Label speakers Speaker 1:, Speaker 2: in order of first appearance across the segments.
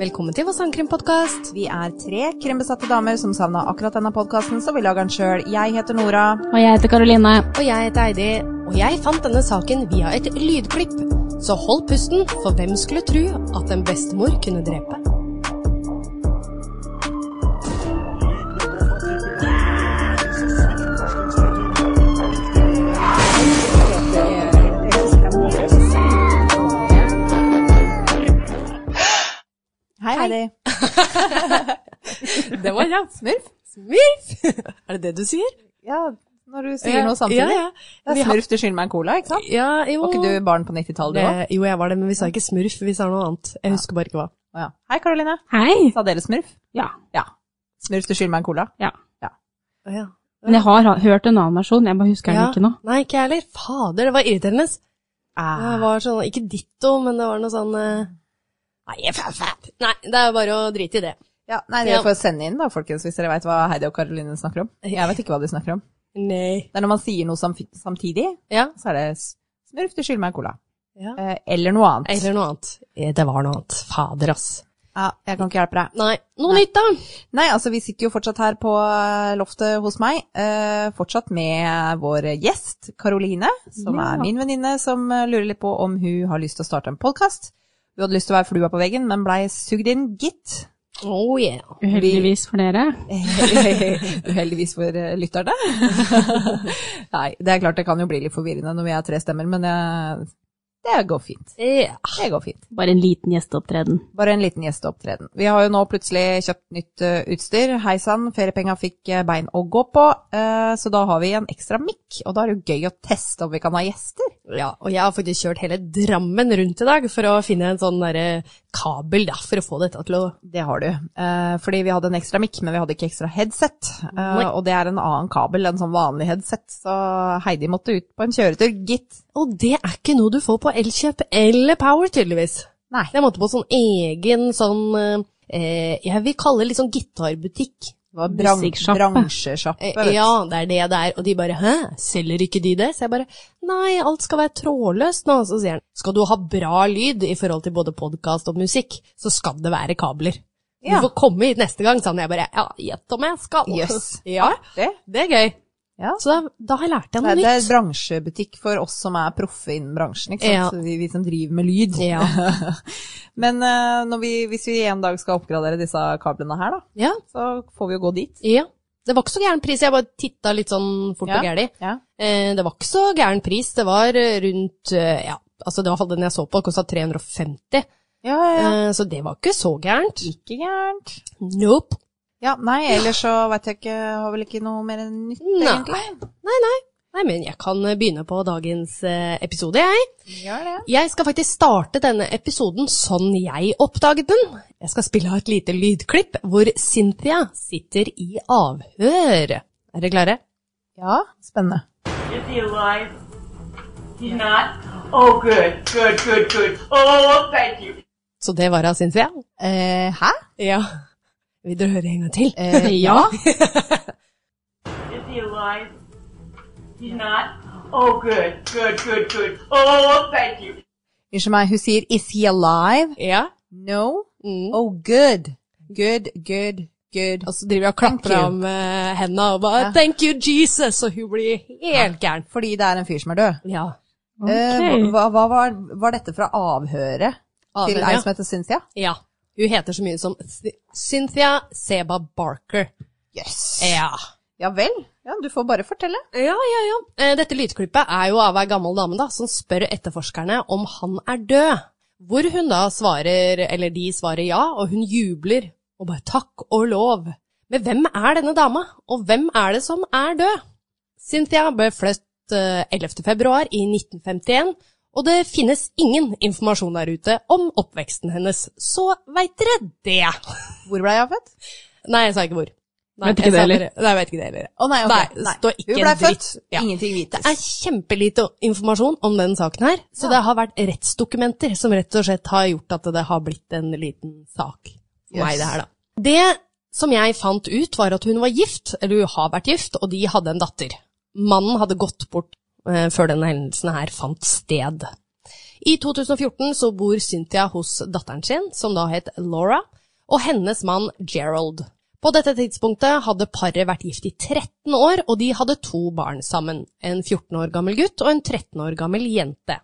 Speaker 1: Velkommen til vår sangkrimpodkast.
Speaker 2: Vi er tre krimbesatte damer som savna akkurat denne podkasten, så vi lager den sjøl. Jeg heter Nora.
Speaker 3: Og jeg heter Karoline.
Speaker 1: Og jeg heter Eidi. Og jeg fant denne saken via et lydklipp. Så hold pusten, for hvem skulle tro at en bestemor kunne drepe?
Speaker 2: Hei, Heidi.
Speaker 1: Det var kjapt.
Speaker 2: Smurf?
Speaker 1: Smurf! Er det det du sier?
Speaker 2: Ja, når du sier noe samtidig.
Speaker 1: Ja,
Speaker 2: Det
Speaker 1: Vi
Speaker 2: er
Speaker 1: har-
Speaker 2: smurf til skyld meg en cola, ikke sant?
Speaker 1: ja. ja jo.
Speaker 2: Var ikke du barn på 90-tallet, du òg?
Speaker 1: Eh, jo, jeg var det, men vi sa ikke smurf, vi sa noe annet. Jeg husker bare ikke hva.
Speaker 2: Å Ja. Hei, Karoline.
Speaker 3: Hei.
Speaker 2: Sa dere smurf?
Speaker 3: Ja.
Speaker 2: Ja. Smurf til skyld meg en cola?
Speaker 1: Ja.
Speaker 3: Men jeg har ha- hørt en annen versjon, jeg bare husker den
Speaker 1: Ja.
Speaker 3: ikke nå.
Speaker 1: Nei, ikke jeg heller. Fader, det var irriterende.
Speaker 2: Ah.
Speaker 1: Det var sånn, ikke ditto, men det var noe sånn eh, Nei, fæ, fæ. Nei, det er bare å drite i det.
Speaker 2: Ja, nei,
Speaker 1: Ja.
Speaker 2: dere får sende inn da, folkens, hvis dere veit hva Heidi og Karoline snakker om. Jeg vet ikke hva de snakker om.
Speaker 1: Nei.
Speaker 2: Det er når man sier noe samf- samtidig,
Speaker 1: Ja.
Speaker 2: så er det s- smurf til skyld meg en cola.
Speaker 1: Ja.
Speaker 2: Eh, Eller noe annet.
Speaker 1: Eller noe annet. Eh, Det var noe annet. Fader, ass.
Speaker 2: Ja, jeg kan ikke hjelpe deg.
Speaker 1: Nei. Noe nytt, da?
Speaker 2: Nei, altså vi sitter jo fortsatt her på eh, loftet hos meg, eh, fortsatt med vår gjest, Karoline, som
Speaker 3: Ja.
Speaker 2: er min venninne, som eh, lurer litt på om hun har lyst til å starte en podkast. Hun hadde lyst til å være flua på veggen, men blei sugd inn, gitt.
Speaker 1: Oh yeah.
Speaker 3: Uheldigvis for dere.
Speaker 2: Uheldigvis for eh, lytterne. Nei, det er klart det kan jo bli litt forvirrende når vi er tre stemmer, men eh, det går fint.
Speaker 1: Ja.
Speaker 2: Det går fint.
Speaker 3: Bare en liten gjesteopptreden.
Speaker 2: Bare en liten gjesteopptreden. Vi har jo nå plutselig kjøpt nytt eh, utstyr. Hei sann, feriepenga fikk eh, bein å gå på, eh, så da har vi en ekstra mikk. Og da er det jo gøy å teste om vi kan ha gjester.
Speaker 1: ja. Og jeg har faktisk kjørt hele Drammen rundt i dag for å finne en sånn derre kabel, da, for å få dette til å
Speaker 2: Det har du. Eh, Fordi vi hadde en ekstra mikk, men vi hadde ikke ekstra headset. Eh,
Speaker 1: Nei.
Speaker 2: Og det er en annen kabel enn sånn vanlig headset, så Heidi måtte ut på en kjøretur, gitt.
Speaker 1: Og det er ikke noe du får på Elkjøp eller Power, tydeligvis.
Speaker 2: Nei.
Speaker 1: Jeg måtte på sånn egen sånn eh, Jeg vil kalle det litt sånn gitarbutikk.
Speaker 2: Det var bran
Speaker 3: Musikksjappe.
Speaker 2: bransjesjappe.
Speaker 1: Eh,
Speaker 2: vet du.
Speaker 1: Ja, det er det det er. Og de bare 'hæ, selger ikke de det?' Så jeg bare 'nei, alt skal være trådløst nå'. Så sier han 'skal du ha bra lyd i forhold til både podkast og musikk, så skal det være kabler'.
Speaker 2: Ja.
Speaker 1: Du får komme hit neste gang, sa han. Jeg bare 'ja, gjett om jeg skal'.
Speaker 2: Jøss.
Speaker 1: Ja,
Speaker 2: Det,
Speaker 1: det er gøy.
Speaker 2: Ja.
Speaker 1: Så da, da har jeg lært deg
Speaker 2: det,
Speaker 1: noe
Speaker 2: er- det er
Speaker 1: nytt.
Speaker 2: bransjebutikk for oss som er proffe innen bransjen, ikke sant?
Speaker 1: Ja.
Speaker 2: Så vi, vi som driver med lyd.
Speaker 1: Ja.
Speaker 2: Men eh, når vi, hvis vi en dag skal oppgradere disse kablene her, da,
Speaker 1: ja,
Speaker 2: så får vi jo gå dit.
Speaker 1: ja. Det var ikke så gæren pris, jeg bare titta litt sånn fort og gæli.
Speaker 2: Ja.
Speaker 1: Eh, Det var ikke så gæren pris, det var eh, rundt eh, ja, altså det var i hvert fall den jeg så på, kosta 350,
Speaker 2: Ja, ja, ja.
Speaker 1: Eh, så det var ikke så gærent.
Speaker 2: Ikke gærent.
Speaker 1: Nope.
Speaker 2: Ja, nei, ellers så veit jeg ikke Har vel ikke noe mer nytt,
Speaker 1: Nei.
Speaker 2: egentlig?
Speaker 1: Nei, men jeg kan eh, begynne på dagens eh, episode, jeg.
Speaker 2: Gjør det.
Speaker 1: Jeg skal faktisk starte denne episoden sånn jeg oppdaget den. Jeg skal spille av et lite lydklipp hvor Cynthia sitter i avhør. Er dere klare?
Speaker 2: Ja, spennende.
Speaker 4: Is he alive? He's not? Oh, good, good, good, good. Oh, thank you.
Speaker 1: Så det var av Cynthia.
Speaker 2: Eh, hæ?
Speaker 1: Ja. Vil dere høre en gang til?
Speaker 2: Eh,
Speaker 3: ja.
Speaker 4: Is he alive? He's not? Oh, good, good, good, good. Oh, thank you.
Speaker 2: Unnskyld meg, hun sier 'is he alive'?
Speaker 1: Ja.
Speaker 2: No?
Speaker 1: Mm.
Speaker 2: Oh, good. Good, good, good.
Speaker 1: Og så driver jeg og klapper
Speaker 2: Thank you.
Speaker 1: av med hendene og bare
Speaker 2: Ja.
Speaker 1: 'thank you, Jesus', og hun blir helt gæren.
Speaker 2: Fordi det er en fyr som er død.
Speaker 1: Ja.
Speaker 2: Eh,
Speaker 3: Ok.
Speaker 2: hva, hva var, var dette fra avhøret til
Speaker 1: Avhøret,
Speaker 2: ei
Speaker 1: ja.
Speaker 2: som heter Cynthia?
Speaker 1: ja. Hun heter så mye som Cy- Cynthia Seba Barker.
Speaker 2: Yes.
Speaker 1: Ja.
Speaker 2: Ja vel. Ja, du får bare fortelle.
Speaker 1: Ja, ja, ja. Eh, Dette lydklippet er jo av ei gammel dame da, som spør etterforskerne om han er død. Hvor hun da svarer, eller de svarer ja, og hun jubler. Og bare takk og lov. Men hvem er denne dama, og hvem er det som er død? Cynthia ble født eh, 11. februar i 1951, og det finnes ingen informasjon der ute om oppveksten hennes, så veit dere det.
Speaker 2: Hvor ble jeg avfødt?
Speaker 1: Nei, jeg sa ikke hvor. Nei,
Speaker 3: Vet ikke
Speaker 1: jeg
Speaker 3: det
Speaker 1: sa
Speaker 3: heller.
Speaker 1: bare- Nei, jeg vet ikke det heller.
Speaker 2: Å nei, ok.
Speaker 1: Nei, det står ikke
Speaker 2: Hun ble
Speaker 1: en
Speaker 2: født,
Speaker 1: dritt. Ja.
Speaker 2: ingenting vites.
Speaker 1: Det er kjempelite informasjon om den saken her, så det har vært rettsdokumenter som rett og slett har gjort at det har blitt en liten sak. for
Speaker 2: Yes.
Speaker 1: Meg, det her, da. Det som jeg fant ut, var at hun var gift, eller hun har vært gift, og de hadde en datter. Mannen hadde gått bort eh, før denne hendelsen her fant sted. I 2014 så bor Cynthia hos datteren sin, som da het Laura, og hennes mann Gerald. På dette tidspunktet hadde paret vært gift i 13 år, og de hadde to barn sammen. En 14 år gammel gutt og en 13 år gammel jente.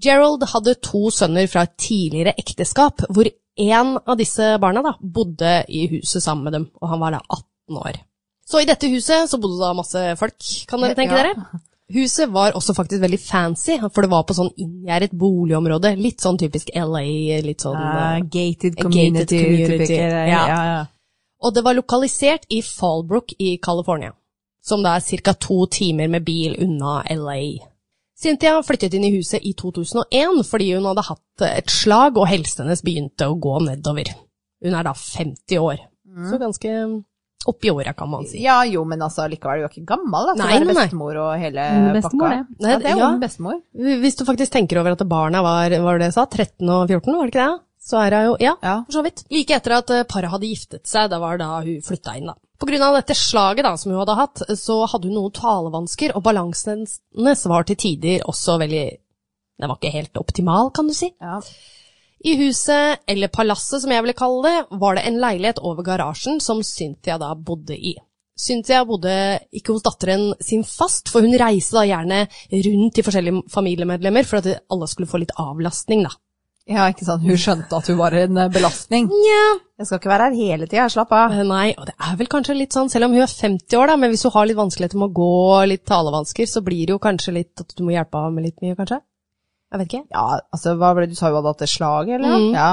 Speaker 1: Gerald hadde to sønner fra et tidligere ekteskap, hvor én av disse barna da, bodde i huset sammen med dem, og han var da 18 år. Så i dette huset så bodde da masse folk, kan dere tenke
Speaker 2: Ja.
Speaker 1: dere? Huset var også faktisk veldig fancy, for det var på sånn inngjerdet boligområde, litt sånn typisk LA, litt sånn eh,
Speaker 2: Eh, gated
Speaker 1: Gated
Speaker 2: community.
Speaker 1: community,
Speaker 2: typisk, eh,
Speaker 1: ja.
Speaker 2: ja, ja.
Speaker 1: og det var lokalisert i Fallbrook i California, som da er ca. to timer med bil unna LA. Cynthia flyttet inn i huset i 2001 fordi hun hadde hatt et slag, og helsen hennes begynte å gå nedover. Hun er da 50 år, så ganske oppi åra, kan man si.
Speaker 2: Ja, jo, men altså likevel, du er ikke gammel da, til å
Speaker 1: Nei,
Speaker 2: være
Speaker 1: nei, nei.
Speaker 2: bestemor og hele
Speaker 3: Hun er bestemor,
Speaker 2: pakka.
Speaker 3: det.
Speaker 1: Nei,
Speaker 2: ja, det er jo
Speaker 1: ja.
Speaker 2: en bestemor.
Speaker 1: Hvis du faktisk tenker over at barna var, var det det jeg sa, 13 og 14, var det ikke det? Så er hun jo Ja,
Speaker 2: Ja.
Speaker 1: for så vidt. Like etter at eh, paret hadde giftet seg, det var da hun flytta inn, da. På grunn av dette slaget da, som hun hadde hatt, så hadde hun noen talevansker, og balansen hennes var til tider også veldig Den var ikke helt optimal, kan du si.
Speaker 2: Ja.
Speaker 1: I huset, eller palasset som jeg ville kalle det, var det en leilighet over garasjen som Cynthia da bodde i. Cynthia bodde ikke hos datteren sin fast, for hun reiste da gjerne rundt til forskjellige familiemedlemmer for at alle skulle få litt avlastning, da.
Speaker 2: ja, ikke sant, hun skjønte at hun var en eh, belastning.
Speaker 1: Nja,
Speaker 2: Jeg skal ikke være her hele tida, slapp av.
Speaker 1: Eh, Nei, og det er vel kanskje litt sånn, selv om hun er 50 år, da, men hvis hun har litt vanskeligheter med å gå, litt talevansker, så blir det jo kanskje litt at du må hjelpe henne med litt mye, kanskje? Jeg vet ikke.
Speaker 2: Ja, altså, hva ble det du sa hun hadde hatt et slag, eller?
Speaker 1: Mm.
Speaker 2: Ja,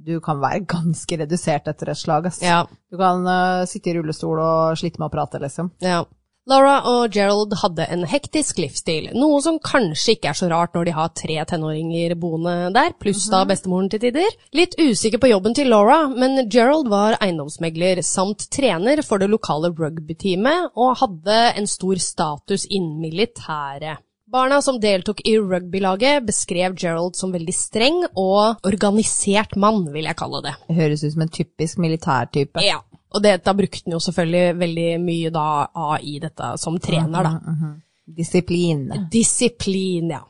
Speaker 2: du kan være ganske redusert etter et slag, ass.
Speaker 1: Ja,
Speaker 2: Du kan eh, sitte i rullestol og slite med å prate, liksom.
Speaker 1: ja. Laura og Gerald hadde en hektisk livsstil, noe som kanskje ikke er så rart når de har tre tenåringer boende der, pluss da bestemoren til tider. Litt usikker på jobben til Laura, men Gerald var eiendomsmegler samt trener for det lokale rugbyteamet, og hadde en stor status innen militæret. Barna som deltok i rugbylaget, beskrev Gerald som veldig streng og organisert mann, vil jeg kalle det.
Speaker 2: Det høres ut som en typisk militærtype.
Speaker 1: Ja, og det, da brukte han jo selvfølgelig veldig mye da av i dette som trener, da.
Speaker 2: Disiplin.
Speaker 1: Disiplin, ja.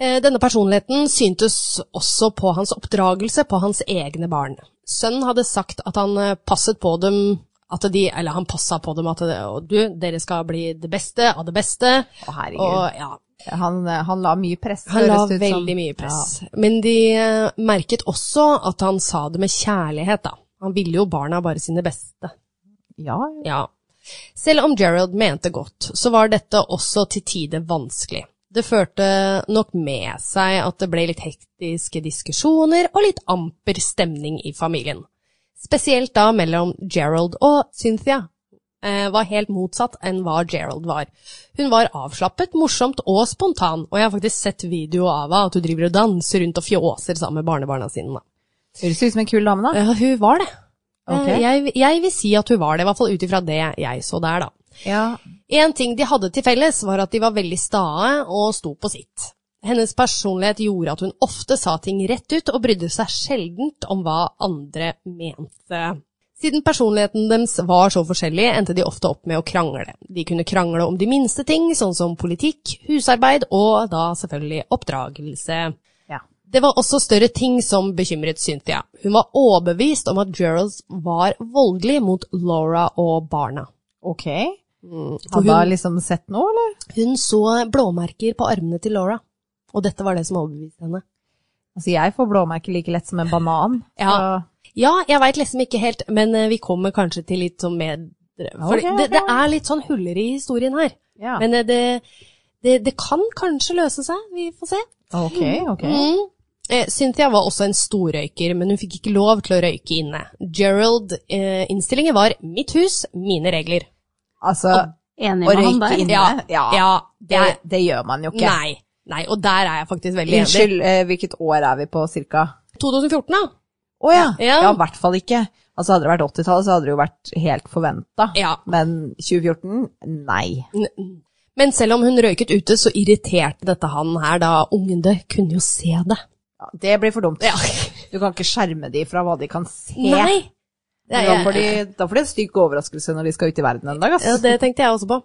Speaker 1: Eh, Denne personligheten syntes også på hans oppdragelse på hans egne barn. Sønnen hadde sagt at han eh, passet på dem at de, eller han passa på dem at det, og du, dere skal bli det beste av det beste.
Speaker 2: Å, herregud.
Speaker 1: Og ja,
Speaker 2: Han, eh, han la mye press,
Speaker 1: han la
Speaker 2: høres det ut som.
Speaker 1: veldig mye press. Men de eh, merket også at han sa det med kjærlighet, da. Han ville jo barna bare sine beste.
Speaker 2: Ja, ja.
Speaker 1: Ja. Selv om Gerald mente godt, så var dette også til tider vanskelig. Det førte nok med seg at det ble litt hektiske diskusjoner og litt amper stemning i familien. Spesielt da mellom Gerald og Cynthia eh, var helt motsatt enn hva Gerald var. Hun var avslappet, morsomt og spontan, og jeg har faktisk sett video av henne at hun driver og danser rundt og fjåser sammen med barnebarna sine. da.
Speaker 2: Høres ut som en kul dame, da.
Speaker 1: Ja, hun var det.
Speaker 2: Ok.
Speaker 1: Eh, Jeg, jeg vil si at hun var det, i hvert fall ut ifra det jeg så der, da.
Speaker 2: Ja.
Speaker 1: En ting de hadde til felles, var at de var veldig stae og sto på sitt. Hennes personlighet gjorde at hun ofte sa ting rett ut, og brydde seg sjeldent om hva andre mente. Siden personligheten deres var så forskjellig, endte de ofte opp med å krangle. De kunne krangle om de minste ting, sånn som politikk, husarbeid og da selvfølgelig oppdragelse.
Speaker 2: ja.
Speaker 1: Det var også større ting som bekymret Cynthia. Hun var overbevist om at Gerald var voldelig mot Laura og barna.
Speaker 2: Ok.
Speaker 1: For
Speaker 2: Hadde hun
Speaker 1: Mm. hun,
Speaker 2: liksom sett noe, eller?
Speaker 1: hun så blåmerker på armene til Laura, og dette var det som overbeviste henne.
Speaker 2: Altså, jeg får blåmerker like lett som en banan.
Speaker 1: Ja. Ja, jeg veit liksom ikke helt, men eh, vi kommer kanskje til litt sånn med For
Speaker 2: Ok, ok.
Speaker 1: det, det er litt sånn huller i historien her.
Speaker 2: Så, ja.
Speaker 1: Men eh, det, det, det kan kanskje løse seg, vi får se.
Speaker 2: ok, ok.
Speaker 1: Mm. Eh, Cynthia var også en storrøyker, men hun fikk ikke lov til å røyke inne. Gerald-innstillingen var 'mitt hus, mine regler'.
Speaker 2: Altså, å
Speaker 3: Enig med han
Speaker 2: røyke
Speaker 3: der.
Speaker 2: inne, ja, Ah, Det,
Speaker 1: det,
Speaker 2: det gjør man jo ikke.
Speaker 1: nei, nei, og der er jeg faktisk veldig enig.
Speaker 2: Unnskyld, eh, hvilket år er vi på, cirka?
Speaker 1: 2014, da.
Speaker 2: Å ja.
Speaker 1: Ja.
Speaker 2: Ja, i hvert fall ikke. Altså, hadde det vært 80-tallet, så hadde det jo vært helt forventa.
Speaker 1: Ja.
Speaker 2: Men 2014? Nei.
Speaker 1: N- Men selv om hun røyket ute, så irriterte dette han her, da ungene kunne jo se det.
Speaker 2: Ja, det blir for dumt.
Speaker 1: Ja.
Speaker 2: Du kan ikke skjerme de fra hva de kan se.
Speaker 1: Nei! Det,
Speaker 2: Da får, de, da får de en stygg overraskelse når de skal ut i verden en dag, ass.
Speaker 1: Ja, det tenkte jeg også på.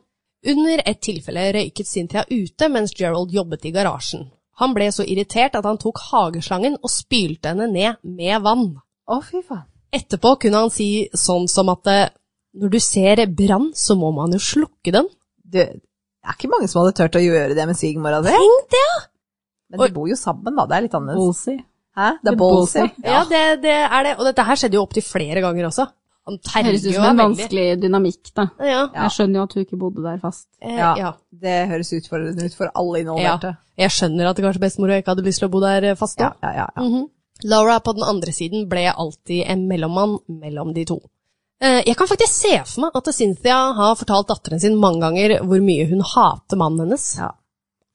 Speaker 1: Under et tilfelle røyket Cynthia ute mens Gerald jobbet i garasjen. Han ble så irritert at han tok hageslangen og spylte henne ned med vann.
Speaker 2: Å, fy faen.
Speaker 1: Etterpå kunne han si sånn som at eh, når du ser brann, så må man jo slukke den.
Speaker 2: Du, det er ikke mange som hadde turt å gjøre det med svigermora si.
Speaker 1: Tenk
Speaker 2: det! Men
Speaker 1: Oi.
Speaker 2: de bor jo sammen, da. Det er litt annerledes.
Speaker 3: Bolsi.
Speaker 2: Hæ? Det
Speaker 3: Det
Speaker 2: er
Speaker 3: er
Speaker 2: ballsy.
Speaker 3: ballsy.
Speaker 1: Ja, det, det er det. Og dette her skjedde jo opptil flere ganger også. Han terger
Speaker 3: Høres ut
Speaker 1: jo
Speaker 3: som en
Speaker 1: veldig.
Speaker 3: vanskelig dynamikk, da.
Speaker 1: Ja.
Speaker 2: Ja.
Speaker 3: Jeg skjønner jo at hun ikke bodde der fast.
Speaker 1: Eh,
Speaker 2: Ja.
Speaker 1: ja.
Speaker 2: Det høres utfordrende ut for alle
Speaker 1: Ja.
Speaker 2: involverte.
Speaker 1: Jeg skjønner at kanskje bestemora ikke hadde lyst til å bo der eh, fast nå.
Speaker 2: Ja, ja, ja. ja.
Speaker 1: Mhm. Laura på den andre siden ble alltid en mellommann mellom de to. Eh, Jeg kan faktisk se for meg at Cynthia har fortalt datteren sin mange ganger hvor mye hun hater mannen hennes.
Speaker 2: Ja.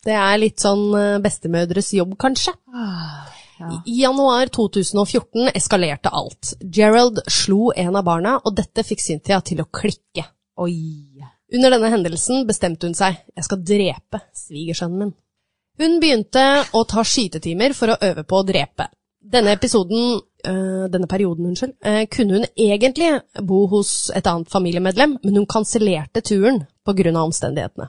Speaker 1: Det er litt sånn eh, bestemødres jobb, kanskje.
Speaker 2: Ah, ja.
Speaker 1: I januar 2014 eskalerte alt. Gerald slo en av barna, og dette fikk Cynthia til å klikke.
Speaker 2: Oi.
Speaker 1: Under denne hendelsen bestemte hun seg. Jeg skal drepe svigersønnen min. Hun begynte å ta skytetimer for å øve på å drepe. Denne episoden, øh, denne perioden, unnskyld, øh, kunne hun egentlig bo hos et annet familiemedlem, men hun kansellerte turen på grunn av omstendighetene.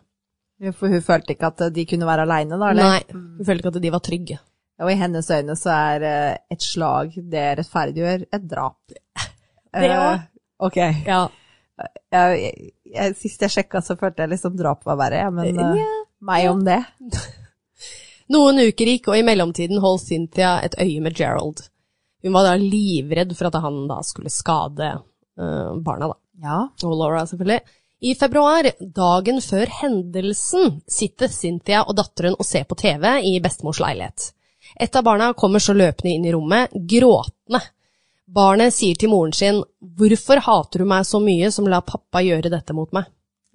Speaker 2: Ja, For hun følte ikke at de kunne være aleine, da? Eller?
Speaker 1: Nei, hun følte ikke at de var trygge.
Speaker 2: Og i hennes øyne så er eh, et slag det rettferdiggjør et drap.
Speaker 1: Det
Speaker 2: Eh,
Speaker 1: også.
Speaker 2: Ok.
Speaker 1: Ja,
Speaker 2: Jeg, jeg, jeg, sist jeg sjekka, så følte jeg liksom drap var verre, ja, men eh, meg om det.
Speaker 1: Noen uker gikk, og i mellomtiden holdt Cynthia et øye med Gerald. Hun var da livredd for at han da skulle skade øh, barna, da.
Speaker 2: Ja.
Speaker 1: Og Laura, selvfølgelig. I februar, dagen før hendelsen, sitter Cynthia og datteren og ser på TV i bestemors leilighet. Et av barna kommer så løpende inn i rommet, gråtende. Barnet sier til moren sin, hvorfor hater du meg så mye som lar pappa gjøre dette mot meg?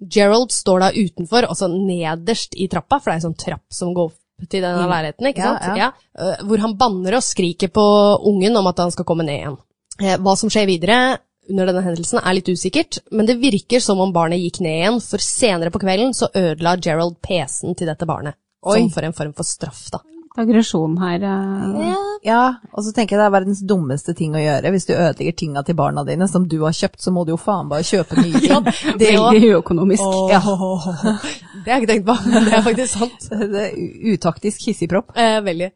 Speaker 1: Gerald står da utenfor, altså nederst i trappa, for det er en sånn trapp som går opp til denne
Speaker 2: Mm.
Speaker 1: leiligheten, ikke
Speaker 2: Ja,
Speaker 1: sant?
Speaker 2: ja.
Speaker 1: Ja. Eh, Hvor han banner og skriker på ungen om at han skal komme ned igjen. Eh, Hva som skjer videre under denne hendelsen er litt usikkert, men det virker som om barnet gikk ned igjen, for senere på kvelden så ødela Gerald PC-en til dette barnet.
Speaker 2: Oi.
Speaker 1: Som for en form for straff, da.
Speaker 3: Aggresjon her. eh.
Speaker 2: ja. Og så tenker jeg det er verdens dummeste ting å gjøre. Hvis du ødelegger tinga til barna dine som du har kjøpt, så må du jo faen bare kjøpe nye. ting. det,
Speaker 3: Veldig uøkonomisk.
Speaker 2: ja.
Speaker 1: Det har jeg ikke tenkt på, men det er faktisk sant.
Speaker 2: det er u- utaktisk hissigpropp.
Speaker 1: Eh, veldig.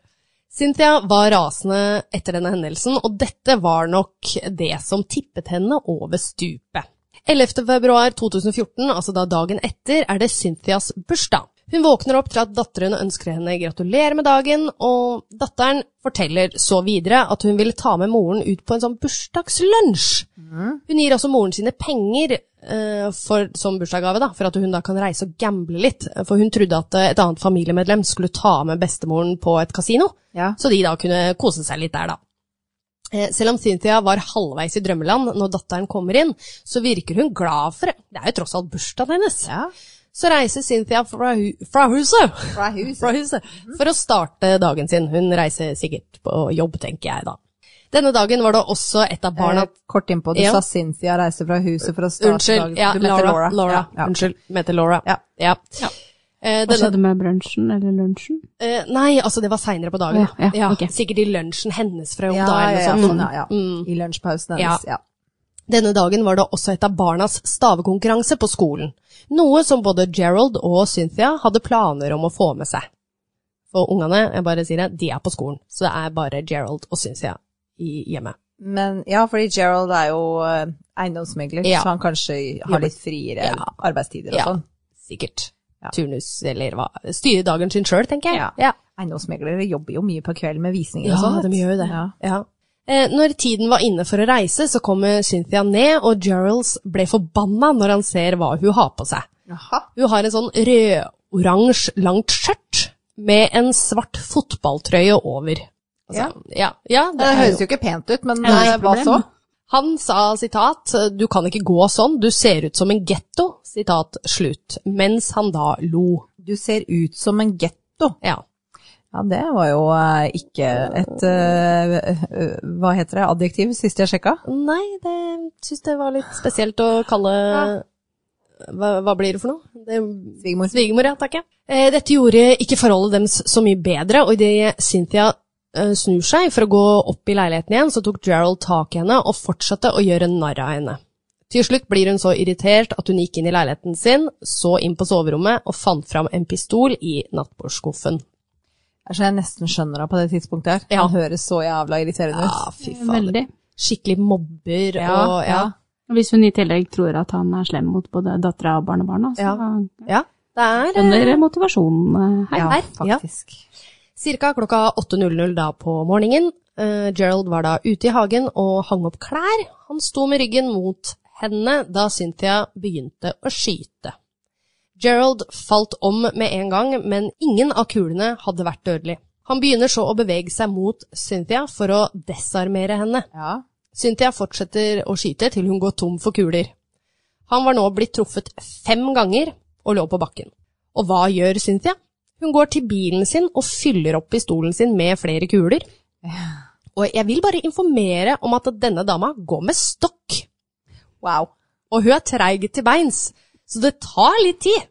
Speaker 1: Cynthia var rasende etter denne hendelsen, og dette var nok det som tippet henne over stupet. 11. februar 2014, altså da dagen etter, er det Cynthias bursdag. Hun våkner opp til at datteren ønsker henne gratulerer med dagen, og datteren forteller så videre at hun vil ta med moren ut på en sånn bursdagslunsj. Hun gir også moren sine penger eh, for, som bursdagsgave, da, for at hun da kan reise og gamble litt. For hun trodde at eh, et annet familiemedlem skulle ta med bestemoren på et kasino,
Speaker 2: Ja.
Speaker 1: så de da kunne kose seg litt der, da. Eh, Selv om Cynthia var halvveis i drømmeland når datteren kommer inn, så virker hun glad for det. Det er jo tross alt bursdagen hennes.
Speaker 2: ja.
Speaker 1: Så reiser Cynthia fra, hu fra huset
Speaker 2: Fra huset.
Speaker 1: fra huset for å starte dagen sin. Hun reiser sikkert på jobb, tenker jeg da. Denne dagen var det også et av barna
Speaker 2: Eh, Kort innpå, du
Speaker 1: Ja.
Speaker 2: sa Cynthia reiste fra huset for å starte dagen.
Speaker 1: Unnskyld, ja,
Speaker 2: Du mente
Speaker 1: Laura. Laura.
Speaker 2: Ja, ja.
Speaker 1: Unnskyld, heter Laura.
Speaker 2: Ja.
Speaker 1: Ja. Eh,
Speaker 3: Hva
Speaker 1: denne,
Speaker 3: skjedde med brunsjen eller lunsjen?
Speaker 1: eh, nei, altså det var seinere på dagen.
Speaker 3: Å, ja, ja, ok.
Speaker 1: Sikkert i lunsjen hennes fra
Speaker 2: Ja,
Speaker 1: Jomda eller
Speaker 2: ja,
Speaker 1: noe
Speaker 2: ja,
Speaker 1: sånt.
Speaker 2: sånn, ja, ja.
Speaker 1: Mm.
Speaker 2: I lunsjpausen hennes, ja.
Speaker 1: Denne dagen var det også et av barnas stavekonkurranse på skolen, noe som både Gerald og Cynthia hadde planer om å få med seg. For ungene, jeg bare sier det, de er på skolen, så det er bare Gerald og Cynthia i hjemmet.
Speaker 2: Men ja, fordi Gerald er jo eh, eiendomsmegler,
Speaker 1: Ja.
Speaker 2: så han kanskje har litt friere
Speaker 1: Ja.
Speaker 2: arbeidstider og
Speaker 1: Ja.
Speaker 2: sånn.
Speaker 1: Sikkert.
Speaker 2: Ja.
Speaker 1: Turnus, eller hva, styre dagen sin sjøl, tenker jeg.
Speaker 2: Ja. Eiendomsmeglere jobber jo mye på kvelden med visninger
Speaker 1: Ja,
Speaker 2: og sånn. vet
Speaker 1: de
Speaker 2: du.
Speaker 1: gjør jo det.
Speaker 2: Ja.
Speaker 1: Ja. Eh, når tiden var inne for å reise, så kommer Cynthia ned, og Geralds ble forbanna når han ser hva hun har på seg.
Speaker 2: Jaha.
Speaker 1: Hun har en sånn rød-oransje langt skjørt med en svart fotballtrøye over. Altså, ja, ja, det
Speaker 2: Det
Speaker 1: er jo-
Speaker 2: høres jo ikke pent ut, men
Speaker 3: Ja,
Speaker 2: eh,
Speaker 3: ikke
Speaker 2: hva
Speaker 3: problem.
Speaker 2: så?
Speaker 1: Han sa, sitat, du kan ikke gå sånn, du ser ut som en getto, sitat, slutt, mens han da lo.
Speaker 2: Du ser ut som en getto.
Speaker 1: Ja.
Speaker 2: Ja, det var jo eh, ikke et eh, eh, Hva heter det? Adjektiv, sist jeg sjekka?
Speaker 1: Nei, det syns jeg var litt spesielt å kalle hva, hva blir det for noe? Det
Speaker 2: Svigermor.
Speaker 1: Svigermor, ja, takk. ja. Eh, dette gjorde ikke forholdet deres så mye bedre, og idet Cynthia eh, snur seg for å gå opp i leiligheten igjen, så tok Gerald tak i henne og fortsatte å gjøre narr av henne. Til slutt blir hun så irritert at hun gikk inn i leiligheten sin, så inn på soverommet og fant fram en pistol i nattbordskuffen.
Speaker 2: Det er så altså, jeg nesten skjønner henne på det tidspunktet her.
Speaker 1: Ja.
Speaker 2: Han høres så jævla irriterende
Speaker 1: Ja,
Speaker 2: ut.
Speaker 1: fy faen.
Speaker 3: Veldig.
Speaker 1: Skikkelig mobber
Speaker 2: Ja,
Speaker 1: og ja.
Speaker 2: ja.
Speaker 3: Hvis hun i tillegg tror at han er slem mot både dattera og barnebarna, så
Speaker 1: ja. Det er eh,
Speaker 3: skjønner motivasjonen eh, her.
Speaker 2: Ja,
Speaker 1: her, ja.
Speaker 2: faktisk.
Speaker 1: Cirka klokka 8.00 da på morgenen. Eh, Gerald var da ute i hagen og hang opp klær. Han sto med ryggen mot henne da Cynthia begynte å skyte. Gerald falt om med en gang, men ingen av kulene hadde vært dødelig. Han begynner så å bevege seg mot Cynthia for å desarmere henne.
Speaker 2: Ja.
Speaker 1: Cynthia fortsetter å skyte til hun går tom for kuler. Han var nå blitt truffet fem ganger og lå på bakken. Og hva gjør Cynthia? Hun går til bilen sin og fyller opp pistolen sin med flere kuler. Og jeg vil bare informere om at denne dama går med stokk,
Speaker 2: Wow.
Speaker 1: og hun er treig til beins, så det tar litt tid.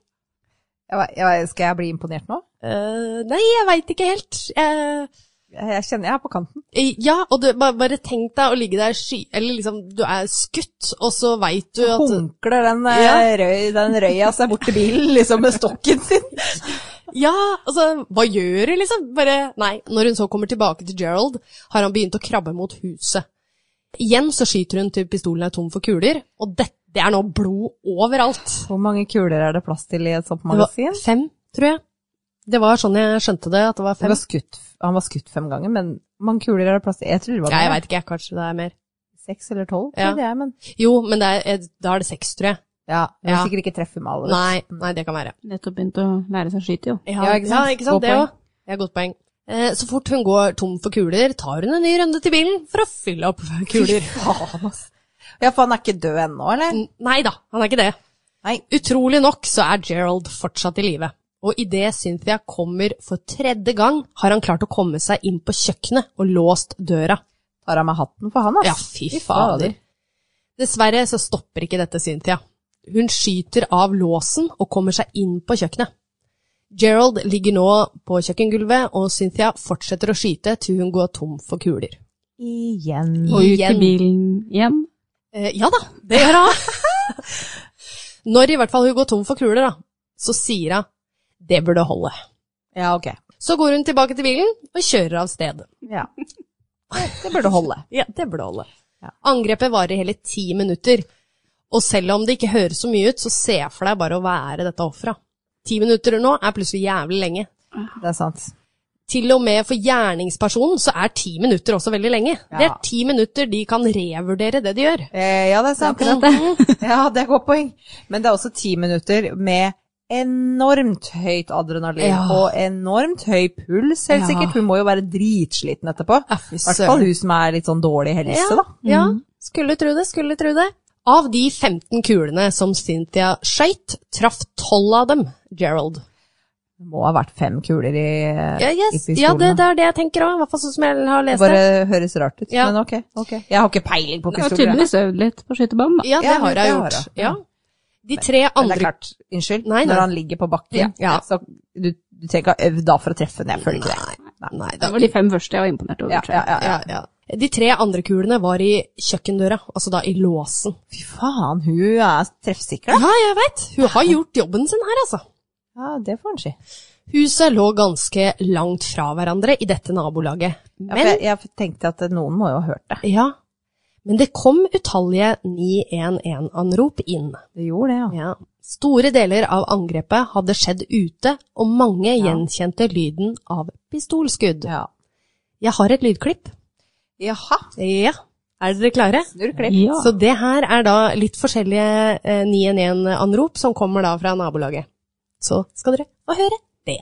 Speaker 2: Jeg, vet- jeg, vet- skal jeg bli imponert nå?
Speaker 1: Eh, nei, jeg veit ikke helt. Eh,
Speaker 2: Jeg, jeg kjenner jeg er på kanten.
Speaker 1: Eh, Ja, og du, bare, bare tenk deg å ligge der sky... Eller liksom, du er skutt, og så veit du at
Speaker 2: Hunkler den, eh,
Speaker 1: Ja.
Speaker 2: røy, den røya seg bort til bilen liksom med stokken sin.
Speaker 1: Ja, altså, hva gjør du, liksom? Bare Nei. Når hun så kommer tilbake til Gerald, har han begynt å krabbe mot huset. Igjen så skyter hun til pistolen er tom for kuler, og det, det er nå blod overalt.
Speaker 2: Hvor mange kuler er det plass til i et sånt
Speaker 1: Det
Speaker 2: magasin?
Speaker 1: var fem, tror jeg. Det var sånn jeg skjønte det, at det var
Speaker 2: Han
Speaker 1: fem.
Speaker 2: var skutt, han var skutt fem ganger, men hvor mange kuler er det plass til? Jeg tror det var
Speaker 1: Ja, jeg
Speaker 2: mer.
Speaker 1: veit ikke, jeg. Kanskje det er mer.
Speaker 2: Seks eller
Speaker 1: Ja.
Speaker 2: tolv, tror jeg det er, men
Speaker 1: Jo, men det er, da er det seks, tror jeg.
Speaker 2: ja, jeg
Speaker 1: Ja.
Speaker 2: vil sikkert ikke treffe med alle.
Speaker 1: Nei, nei, det kan være.
Speaker 3: Nettopp begynt å lære seg å skyte, jo.
Speaker 1: Ja,
Speaker 2: Ja,
Speaker 1: ikke
Speaker 2: ikke
Speaker 1: sant?
Speaker 2: sant?
Speaker 1: Ja, ikke sant?
Speaker 2: Godt
Speaker 1: Det
Speaker 2: poeng.
Speaker 1: òg. Det er et godt poeng. Eh, Så fort hun går tom for kuler, tar hun en ny runde til bilen for å fylle opp kuler.
Speaker 2: Faen, ass. Ja, for han er ikke død ennå, eller?
Speaker 1: Nei da, han er ikke det.
Speaker 2: Nei.
Speaker 1: Utrolig nok så er Gerald fortsatt i live. Og idet Cynthia kommer for tredje gang, har han klart å komme seg inn på kjøkkenet og låst døra.
Speaker 2: Tar han med hatten for han, ass?
Speaker 1: Ja, fy fader. Dessverre så stopper ikke dette Cynthia. Hun skyter av låsen og kommer seg inn på kjøkkenet. Gerald ligger nå på kjøkkengulvet, og Cynthia fortsetter å skyte til hun går tom for kuler.
Speaker 2: Igjen.
Speaker 3: Og ut
Speaker 1: Igjen.
Speaker 3: i bilen igjen.
Speaker 1: Eh, ja da, det gjør hun. Når i hvert fall hun går tom for kuler, da, så sier hun det burde holde.
Speaker 2: Ja, ok.
Speaker 1: Så går hun tilbake til bilen og kjører av sted.
Speaker 2: Ja. Det burde holde.
Speaker 1: Ja, det burde holde.
Speaker 2: Ja.
Speaker 1: Angrepet varer hele ti minutter, og selv om det ikke høres så mye ut, så se for deg bare å være dette offeret. Ti minutter nå er plutselig jævlig lenge.
Speaker 2: Det er sant.
Speaker 1: Til og med for gjerningspersonen så er ti minutter også veldig lenge.
Speaker 2: Ja.
Speaker 1: Det er ti minutter de kan revurdere det de gjør. Mhm.
Speaker 2: Eh, ja, det er sant. Ja, det er et godt poeng. Men det er også ti minutter med enormt høyt adrenalin
Speaker 1: Ja.
Speaker 2: og enormt høy puls, helt
Speaker 1: Ja.
Speaker 2: sikkert. Hun må jo være dritsliten etterpå.
Speaker 1: Ja, fy
Speaker 2: I hvert fall hun som er litt sånn dårlig i helse, da. Mm.
Speaker 1: Ja, skulle tro det, skulle tro det. Av de 15 kulene som Cynthia skøyt, traff 12 av dem Gerald.
Speaker 2: Det må ha vært fem kuler i,
Speaker 1: Ja, yes.
Speaker 2: i
Speaker 1: ja det,
Speaker 2: pistolene.
Speaker 1: det er det jeg tenker òg, i hvert fall sånn som jeg har lest det.
Speaker 2: bare høres rart ut,
Speaker 1: Ja.
Speaker 2: men ok, ok. Jeg har ikke peiling på
Speaker 3: Du har
Speaker 2: pistoler. jeg.
Speaker 3: tydeligvis øvd litt på skytebanen, da.
Speaker 1: Ja, det
Speaker 2: Ja,
Speaker 1: har
Speaker 2: det
Speaker 1: jeg
Speaker 2: har
Speaker 1: gjort.
Speaker 2: jeg. Mm.
Speaker 1: Ja. De tre
Speaker 2: Men det er
Speaker 1: andre
Speaker 2: klart, unnskyld,
Speaker 1: Nei, nei.
Speaker 2: når han ligger på bakken,
Speaker 1: Ja.
Speaker 2: så du, du trenger ikke ha øvd da for å treffe den, jeg føler ikke det.
Speaker 1: Nei,
Speaker 3: Det var de fem første jeg var imponert over.
Speaker 2: Ja,
Speaker 3: tror
Speaker 2: ja,
Speaker 3: jeg.
Speaker 2: ja, ja.
Speaker 1: ja, ja. De tre andre kulene var i kjøkkendøra, altså da i låsen.
Speaker 2: Fy faen, hun er treffsikker, da.
Speaker 1: Ja, jeg veit! Hun har gjort jobben sin her, altså.
Speaker 2: Ja, det får han si.
Speaker 1: Huset lå ganske langt fra hverandre i dette nabolaget,
Speaker 2: Ja, for
Speaker 1: men
Speaker 2: jeg, jeg tenkte at noen må jo ha hørt det.
Speaker 1: Ja. Men det kom utallige 911-anrop inn.
Speaker 2: Det gjorde det, ja.
Speaker 1: Ja. Store deler av angrepet hadde skjedd ute, og mange gjenkjente lyden av pistolskudd.
Speaker 2: ja.
Speaker 1: Jeg har et lydklipp.
Speaker 2: Jaha,
Speaker 1: Ja. Er dere klare?
Speaker 2: snurr klipp.
Speaker 3: Ja.
Speaker 1: Så det her er da litt forskjellige eh, 911-anrop som kommer da fra nabolaget. Så skal dere få høre det.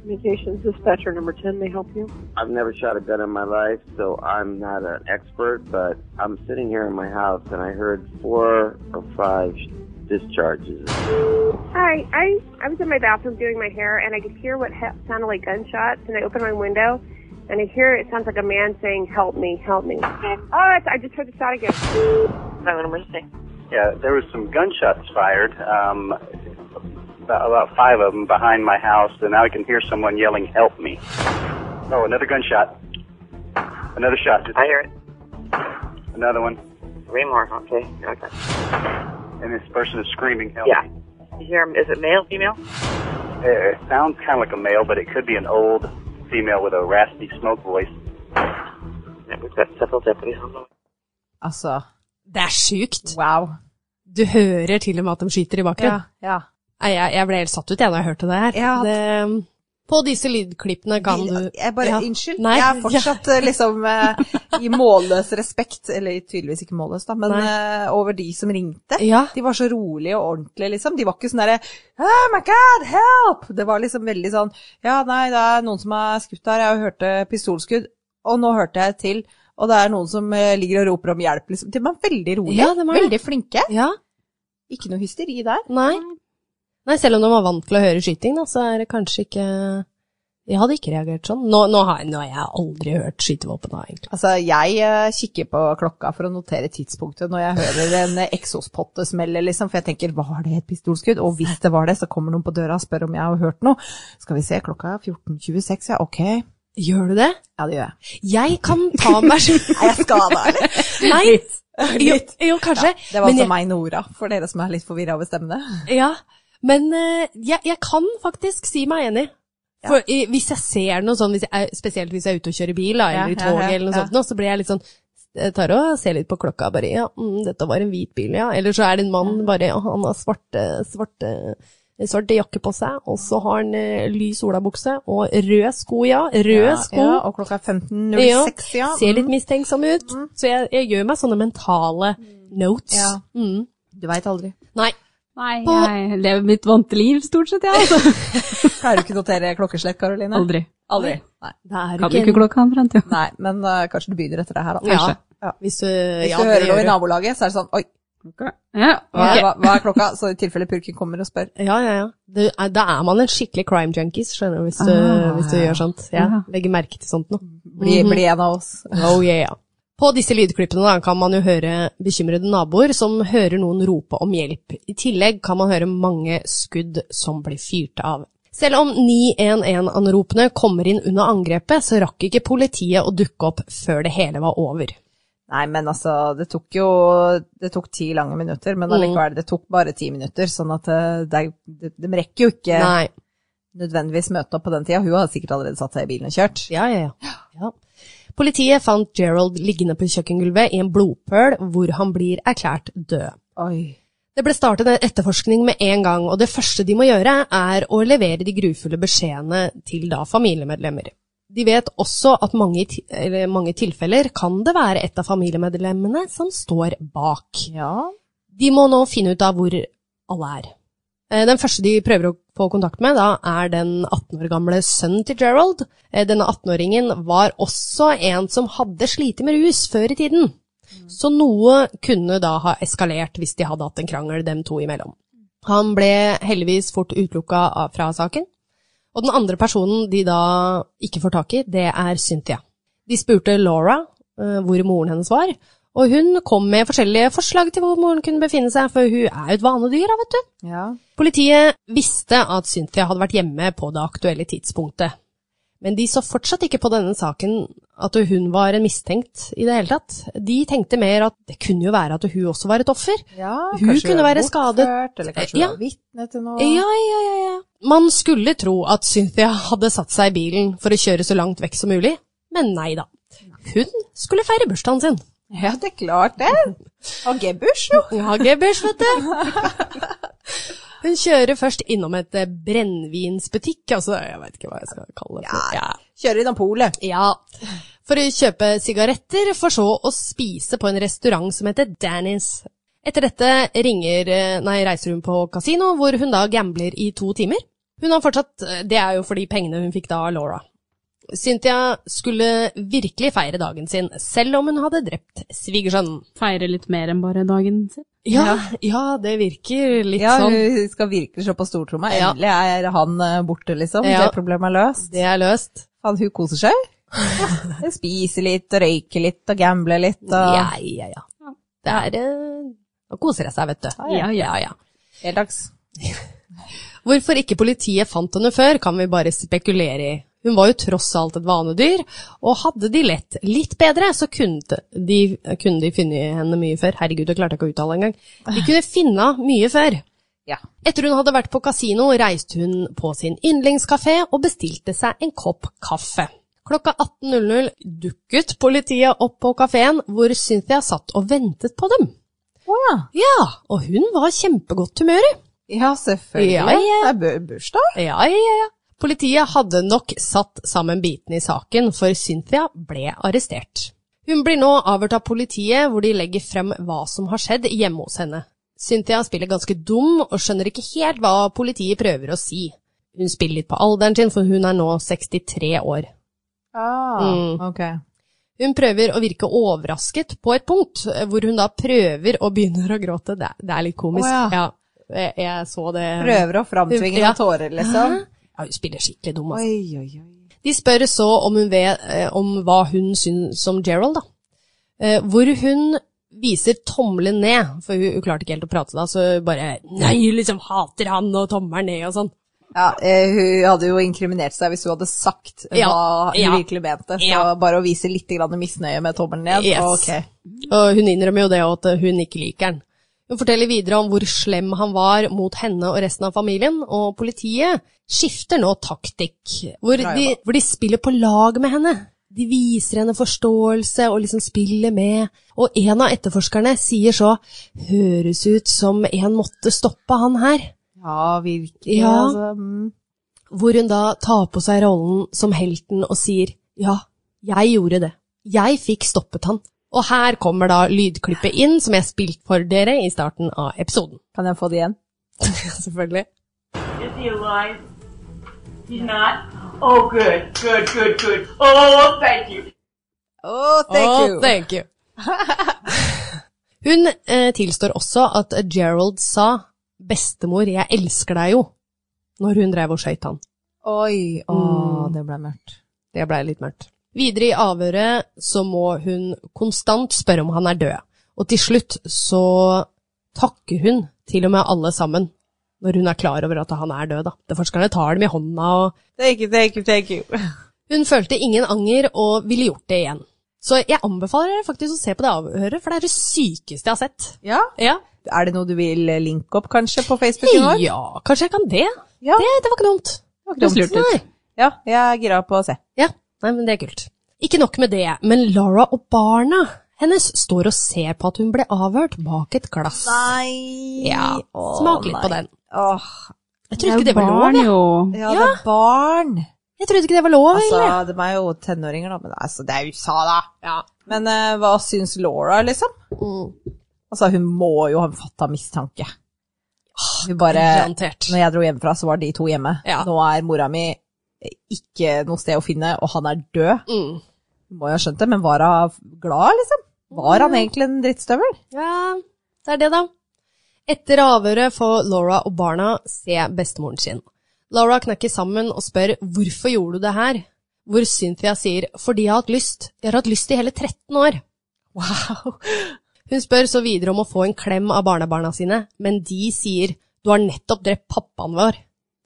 Speaker 5: Communications dispatcher number 10 may help you.
Speaker 6: I've never shot a gun in my life, so I'm not an expert, but I'm sitting here in my house and I heard four or five discharges.
Speaker 7: Hi, I I was in my bathroom doing my hair, and I could hear what he- sounded like gunshots. And I opened my window, and I hear it sounds like a man saying, "Help me, help me." Oh, it's, I just heard the shot again.
Speaker 8: Yeah, there was some gunshots fired, um, about, about five of them behind my house, and now I can hear someone yelling, "Help me!" Oh, another gunshot! Another shot!
Speaker 5: I hear it.
Speaker 8: Another one,
Speaker 5: Three more. Okay. Okay.
Speaker 8: and this person is screaming, "Help!"
Speaker 5: Yeah.
Speaker 8: me."
Speaker 5: You hear 'em. Is it male, female?
Speaker 8: It, it sounds kind of like a male, but it could be an old female with a raspy smoke voice.
Speaker 6: We've got several deputies on the
Speaker 2: Altså,
Speaker 1: Det er sjukt.
Speaker 2: wow.
Speaker 1: Du hører til og med at de skyter i bakgrunnen.
Speaker 2: ja.
Speaker 1: Nei, Jeg, jeg ble helt satt ut jeg da jeg hørte det her.
Speaker 2: Ja.
Speaker 1: Det, på disse lydklippene kan du
Speaker 2: Jeg bare,
Speaker 1: Ja.
Speaker 2: Unnskyld,
Speaker 1: Nei,
Speaker 2: jeg er fortsatt eh, liksom eh, i målløs respekt, eller tydeligvis ikke målløs, da, men eh, over de som ringte.
Speaker 1: Ja.
Speaker 2: De var så rolige og ordentlige, liksom. De var ikke sånn derre Oh my God, help! Det var liksom veldig sånn Ja, nei, det er noen som er skutt her. Jeg hørte pistolskudd, og nå hørte jeg til. Og det er noen som eh, ligger og roper om hjelp, liksom. De var veldig rolige.
Speaker 1: Ja, de er det.
Speaker 2: veldig flinke.
Speaker 1: Ja,
Speaker 2: Ikke noe hysteri der.
Speaker 1: nei. Nei, selv om de var vant til å høre skyting, da, så er det kanskje ikke Jeg hadde ikke reagert sånn. Nå, nå, har, jeg- nå har jeg aldri hørt skytevåpen, da, egentlig.
Speaker 2: Altså, jeg eh, kikker på klokka for å notere tidspunktet når jeg hører en eh, eksospotte smelle, liksom, for jeg tenker, var det et pistolskudd? Og hvis det var det, så kommer noen på døra og spør om jeg har hørt noe. Skal vi se, klokka er 14.26, ja, ok.
Speaker 1: Gjør du det?
Speaker 2: Ja, det gjør jeg.
Speaker 1: Jeg kan ta meg
Speaker 2: Er jeg skada, eller?
Speaker 1: Nei! Jo,
Speaker 2: Litt.
Speaker 1: jo kanskje.
Speaker 2: Det var
Speaker 1: Men
Speaker 2: altså
Speaker 1: jeg-
Speaker 2: meg, Nora, for dere som er litt forvirra over stemmene.
Speaker 1: Ja, men eh, jeg, jeg kan faktisk si meg enig. For i- hvis jeg ser noe sånn, hvis jeg, er- spesielt hvis jeg er ute og kjører bil, da,
Speaker 2: Ja,
Speaker 1: eller i
Speaker 2: ja,
Speaker 1: toget
Speaker 2: ja,
Speaker 1: eller noe
Speaker 2: ja.
Speaker 1: sånt, nå, så blir jeg litt sånn jeg tar og ser litt på klokka bare Ja, mm, dette var en hvit bil, ja. Eller så er det en mann bare ja, Han har svarte, svarte, svarte jakke på seg, og så har han eh, lys olabukse og røde sko, ja. Røde
Speaker 2: Ja,
Speaker 1: sko.
Speaker 2: Ja, og klokka er 15.06, ja.
Speaker 1: Ser litt
Speaker 2: Mm.
Speaker 1: mistenksom ut. Så jeg, jeg gjør meg sånne mentale notes.
Speaker 2: Ja.
Speaker 1: Mm.
Speaker 2: Du veit aldri.
Speaker 1: Nei.
Speaker 3: Nei, jeg lever mitt vante liv stort sett, jeg, altså.
Speaker 2: Klarer du ikke å notere klokkeslett, Karoline?
Speaker 3: Aldri.
Speaker 2: Aldri. Nei.
Speaker 1: Det er
Speaker 3: Kan ikke klokka han fram til.
Speaker 2: Nei, men eh, kanskje du begynner etter det her, da.
Speaker 1: Ja.
Speaker 2: Ja.
Speaker 1: Hvis du,
Speaker 2: Hvis
Speaker 1: ja,
Speaker 2: du
Speaker 1: det
Speaker 2: hører
Speaker 1: gjør
Speaker 2: noe
Speaker 1: du.
Speaker 2: i nabolaget, så er det sånn oi,
Speaker 3: Ja,
Speaker 2: hva,
Speaker 3: ok.
Speaker 2: hva, hva er klokka? Så i tilfelle purken kommer og spør.
Speaker 1: Ja, ja, ja. Du, er- da er man en skikkelig crime junkies, skjønner du, hvis du,
Speaker 3: Ah,
Speaker 1: hvis du
Speaker 3: ja.
Speaker 1: gjør sånt. Ja,
Speaker 3: Ja.
Speaker 1: Legger merke til sånt nå.
Speaker 2: Bli,
Speaker 1: Mhm.
Speaker 2: bli en av oss.
Speaker 1: Oh yeah. På disse lydklippene da, kan man jo høre bekymrede naboer som hører noen rope om hjelp. I tillegg kan man høre mange skudd som blir fyrt av. Selv om 911-anropene kommer inn under angrepet, så rakk ikke politiet å dukke opp før det hele var over.
Speaker 2: Nei, men altså, det tok jo Det tok ti lange minutter,
Speaker 1: Mhm.
Speaker 2: men allikevel, det tok bare ti minutter. Sånn at eh, det, er- de, de rekker jo ikke
Speaker 1: Nei.
Speaker 2: nødvendigvis møte opp på den tida. Hun har sikkert allerede satt seg i bilen og kjørt.
Speaker 1: Ja, ja, ja. ja. Politiet fant Gerald liggende på kjøkkengulvet i en blodpøl, hvor han blir erklært død.
Speaker 2: Oi.
Speaker 1: Det ble startet en etterforskning med en gang, og det første de må gjøre, er å levere de grufulle beskjedene til da familiemedlemmer. De vet også at mange, i ti- eller mange tilfeller kan det være et av familiemedlemmene som står bak.
Speaker 2: Ja.
Speaker 1: De må nå finne ut av hvor alle er. Eh, Den første de prøver å få kontakt med, da, er den 18 år gamle sønnen til Gerald. Eh, Denne 18-åringen var også en som hadde slitt med rus før i tiden. Så noe kunne da ha eskalert hvis de hadde hatt en krangel dem to imellom. Han ble heldigvis fort utelukka av- fra saken. Og den andre personen de da ikke får tak i, det er Cynthia. De spurte Laura eh, hvor moren hennes var, og hun kom med forskjellige forslag til hvor moren kunne befinne seg, for hun er jo et vanedyr, da, vet du.
Speaker 2: ja.
Speaker 1: Politiet visste at Cynthia hadde vært hjemme på det aktuelle tidspunktet, men de så fortsatt ikke på denne saken at hun var en mistenkt i det hele tatt. De tenkte mer at det kunne jo være at hun også var et offer.
Speaker 2: ja
Speaker 1: Hun
Speaker 2: kanskje
Speaker 1: kunne
Speaker 2: var
Speaker 1: være skadet.
Speaker 2: bortført, Eller kanskje hun
Speaker 1: Ja.
Speaker 2: var vitne til noe.
Speaker 1: Ja, ja, ja, ja. Man skulle tro at Cynthia hadde satt seg i bilen for å kjøre så langt vekk som mulig, men nei da. Hun skulle feire bursdagen sin.
Speaker 2: Ja, det er klart det. Og gebbers, jo.
Speaker 1: Ja, Gebbers, vet du. Hun kjører først innom et eh, brennevinsbutikk, altså jeg vet ikke hva jeg skal kalle det. for. Ja.
Speaker 2: Kjører innom polet.
Speaker 1: Ja. For å kjøpe sigaretter, for så å spise på en restaurant som heter Danny's. Etter dette ringer, eh, nei, reiser hun på kasino, hvor hun da gambler i to timer. Hun har fortsatt eh, Det er jo for de pengene hun fikk da av Laura. Cynthia skulle virkelig feire dagen sin, selv om hun hadde drept svigersønnen.
Speaker 3: Feire litt mer enn bare dagen sin.
Speaker 1: Ja, ja, det virker litt
Speaker 2: Ja,
Speaker 1: sånn.
Speaker 2: hun skal virkelig slå på stortromma.
Speaker 1: Ja.
Speaker 2: Endelig er han eh, borte, liksom.
Speaker 1: Ja.
Speaker 2: Det problemet er løst.
Speaker 1: Det er løst.
Speaker 2: Faen, hun koser seg. Hun spiser litt, og røyker litt og gambler litt. Og...
Speaker 1: Ja, ja, ja. Det er eh, Nå koser jeg seg, vet du.
Speaker 3: Ja, ja.
Speaker 1: ja, ja.
Speaker 2: Heldags.
Speaker 1: Hvorfor ikke politiet fant henne før, kan vi bare spekulere i. Hun var jo tross alt et vanedyr, og hadde de lett litt bedre, så kunne de, kunne de funnet henne mye før. Herregud, jeg klarte ikke å uttale engang. De kunne finne henne mye før.
Speaker 2: Ja.
Speaker 1: Etter hun hadde vært på kasino, reiste hun på sin yndlingskafé og bestilte seg en kopp kaffe. Klokka 18.00 dukket politiet opp på kafeen, hvor Cynthia satt og ventet på dem. Ja, og hun var kjempegodt humøret.
Speaker 2: Ja, selvfølgelig.
Speaker 1: Ja, ja.
Speaker 2: Det er bu- bursdag.
Speaker 1: Ja, ja, ja, ja. Politiet hadde nok satt sammen bitene i saken, for Cynthia ble arrestert. Hun blir nå avhørt av politiet, hvor de legger frem hva som har skjedd hjemme hos henne. Cynthia spiller ganske dum, og skjønner ikke helt hva politiet prøver å si. Hun spiller litt på alderen sin, for hun er nå 63 år.
Speaker 2: Ah,
Speaker 1: Mm.
Speaker 2: ok.
Speaker 1: Hun prøver å virke overrasket på et punkt, eh, hvor hun da prøver og begynner å gråte. Det, er- det er litt komisk.
Speaker 2: Å, ja.
Speaker 1: ja. jeg, jeg så det.
Speaker 2: Prøver å framtvinge
Speaker 1: Ja.
Speaker 2: noen tårer, liksom.
Speaker 1: Ja, hun spiller skikkelig dum, altså.
Speaker 2: Oi, oi, oi.
Speaker 1: De spør så om, hun vet, eh, om hva hun syns om Gerald, da. Eh, hvor hun viser tommelen ned, for hun, hun klarte ikke helt å prate da, så hun bare Nei, liksom hater han, og tommelen ned og sånn.
Speaker 2: Ja, eh, hun hadde jo inkriminert seg hvis hun hadde sagt
Speaker 1: Ja,
Speaker 2: hva hun
Speaker 1: ja,
Speaker 2: virkelig mente. Så
Speaker 1: ja.
Speaker 2: bare å vise litt grann misnøye med tommelen ned.
Speaker 1: Yes.
Speaker 2: ok.
Speaker 1: Og hun innrømmer jo det også, at hun ikke liker han. Hun forteller videre om hvor slem han var mot henne og resten av familien, og politiet skifter nå taktikk, hvor
Speaker 2: Bra
Speaker 1: de,
Speaker 2: jobba.
Speaker 1: hvor de spiller på lag med henne. De viser henne forståelse og liksom spiller med, og en av etterforskerne sier så «Høres ut som en måtte stoppe han her»,
Speaker 2: Ja, virkelig.
Speaker 1: Ja.
Speaker 2: Altså, mm.
Speaker 1: hvor hun da tar på seg rollen som helten og sier «Ja, jeg gjorde det. Jeg fikk stoppet han». Og her kommer da lydklippet inn, som jeg spilte for dere i starten av episoden.
Speaker 2: Kan jeg få det igjen?
Speaker 1: Selvfølgelig.
Speaker 4: Is he alive? He's not? Oh, good, good, good, good. Oh, thank you.
Speaker 2: Oh, thank
Speaker 1: Å,
Speaker 2: you.
Speaker 1: thank you. Hun eh, tilstår også at Gerald sa 'bestemor, jeg elsker deg jo', når hun drev og skøyt han.
Speaker 2: Oi, å,
Speaker 1: Mm.
Speaker 2: det ble mørkt.
Speaker 1: Det blei litt mørkt. Videre i avhøret så må hun konstant spørre om han er død, og til slutt så takker hun til og med alle sammen, når hun er klar over at han er død, da. Etterforskerne tar dem i hånda og
Speaker 2: Thank you, thank you, thank you.
Speaker 1: Hun følte ingen anger og ville gjort det igjen. Så jeg anbefaler dere faktisk å se på det avhøret, for det er det sykeste jeg har sett.
Speaker 2: Ja,
Speaker 1: Ja,
Speaker 2: er det noe du vil linke opp, kanskje, på Facebooken vår?
Speaker 1: ja kanskje jeg kan det.
Speaker 2: Ja.
Speaker 1: Det, det var ikke dumt.
Speaker 2: Det var ikke dumt.
Speaker 1: Nei.
Speaker 2: Ja, jeg er gira på å se.
Speaker 1: Ja, nei, men det er kult. Ikke nok med det, men Lara og barna hennes står og ser på at hun ble avhørt bak et glass.
Speaker 2: Nei!
Speaker 1: Ja, smak litt på den.
Speaker 2: Åh,
Speaker 1: Jeg trodde ikke det var lov, jeg.
Speaker 3: jo.
Speaker 2: ja, det er barn.
Speaker 1: Jeg trodde ikke det var lov,
Speaker 2: Altså,
Speaker 1: egentlig.
Speaker 2: de er jo tenåringer, da, men altså, det er USA, da.
Speaker 1: Ja.
Speaker 2: Men eh, hva syns Laura, liksom? Altså, hun må jo ha en fatta mistanke. Hun bare
Speaker 1: Garantert.
Speaker 2: Når jeg dro hjemmefra, så var de to hjemme.
Speaker 1: Ja.
Speaker 2: Nå er mora mi eh, ikke noe sted å finne, og han er død.
Speaker 1: Mm.
Speaker 2: Hun må jo ha skjønt det, men var hun glad, liksom? Var han egentlig en drittstøvel?
Speaker 1: Ja, det er det, da. Etter avhøret får Laura og barna se bestemoren sin. Laura knekker sammen og spør hvorfor gjorde du det her? Hvor Cynthia sier fordi jeg har hatt lyst. Jeg har hatt lyst i hele 13 år. Wow. Hun spør så videre om å få en klem av barnebarna sine, men de sier du har nettopp drept pappaen vår.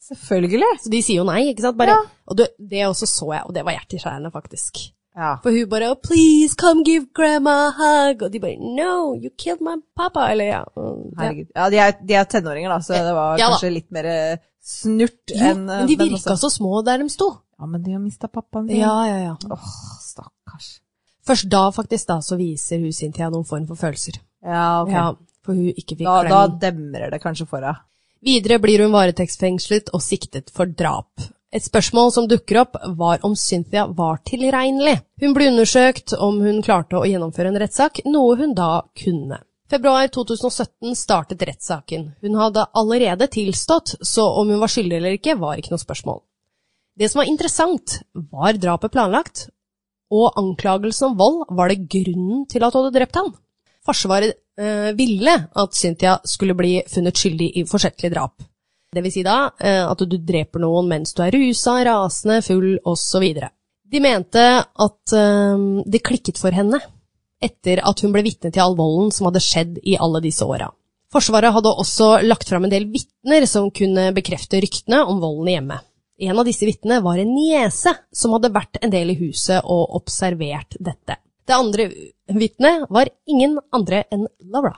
Speaker 2: Selvfølgelig.
Speaker 1: Så de sier jo nei, ikke sant? Bare, Og det, det også så jeg, og det var hjerteskjærende, faktisk.
Speaker 2: Ja.
Speaker 1: For hun bare oh, 'please, come give grandma a hug', og de bare 'no, you killed my papa', eller ja. mm, det-
Speaker 2: Herregud. Ja, de er, de er tenåringer, da, så det var
Speaker 1: Ja, da.
Speaker 2: kanskje litt mer eh, snurt
Speaker 1: Jo,
Speaker 2: enn eh,
Speaker 1: men de
Speaker 2: men
Speaker 1: virka
Speaker 2: også-
Speaker 1: så små der de sto.
Speaker 2: Ja, men de har mista pappaen sin.
Speaker 1: Ja, ja, ja.
Speaker 2: Åh, stakkars.
Speaker 1: Først da, faktisk, da, så viser hun Cynthia noen form for følelser.
Speaker 2: Ja, ok.
Speaker 1: Ja, for hun ikke fikk
Speaker 2: da, da
Speaker 1: klemmen.
Speaker 2: demrer det kanskje for henne.
Speaker 1: Videre blir hun varetektsfengslet og siktet for drap. Et spørsmål som dukker opp, var om Cynthia var tilregnelig. Hun ble undersøkt om hun klarte å gjennomføre en rettssak, noe hun da kunne. Februar 2017 startet rettssaken. Hun hadde allerede tilstått, så om hun var skyldig eller ikke, var ikke noe spørsmål. Det som var interessant, var drapet planlagt, og anklagelsen om vold var det grunnen til at hun hadde drept han. Forsvaret eh, ville at Cynthia skulle bli funnet skyldig i forsettlig drap. Det vil si da eh, at du dreper noen mens du er rusa, rasende, full osv. De mente at eh, det klikket for henne etter at hun ble vitne til all volden som hadde skjedd i alle disse åra. Forsvaret hadde også lagt fram en del vitner som kunne bekrefte ryktene om volden i hjemmet. En av disse vitnene var en niese som hadde vært en del i huset og observert dette. Det andre vitnet var ingen andre enn Laura.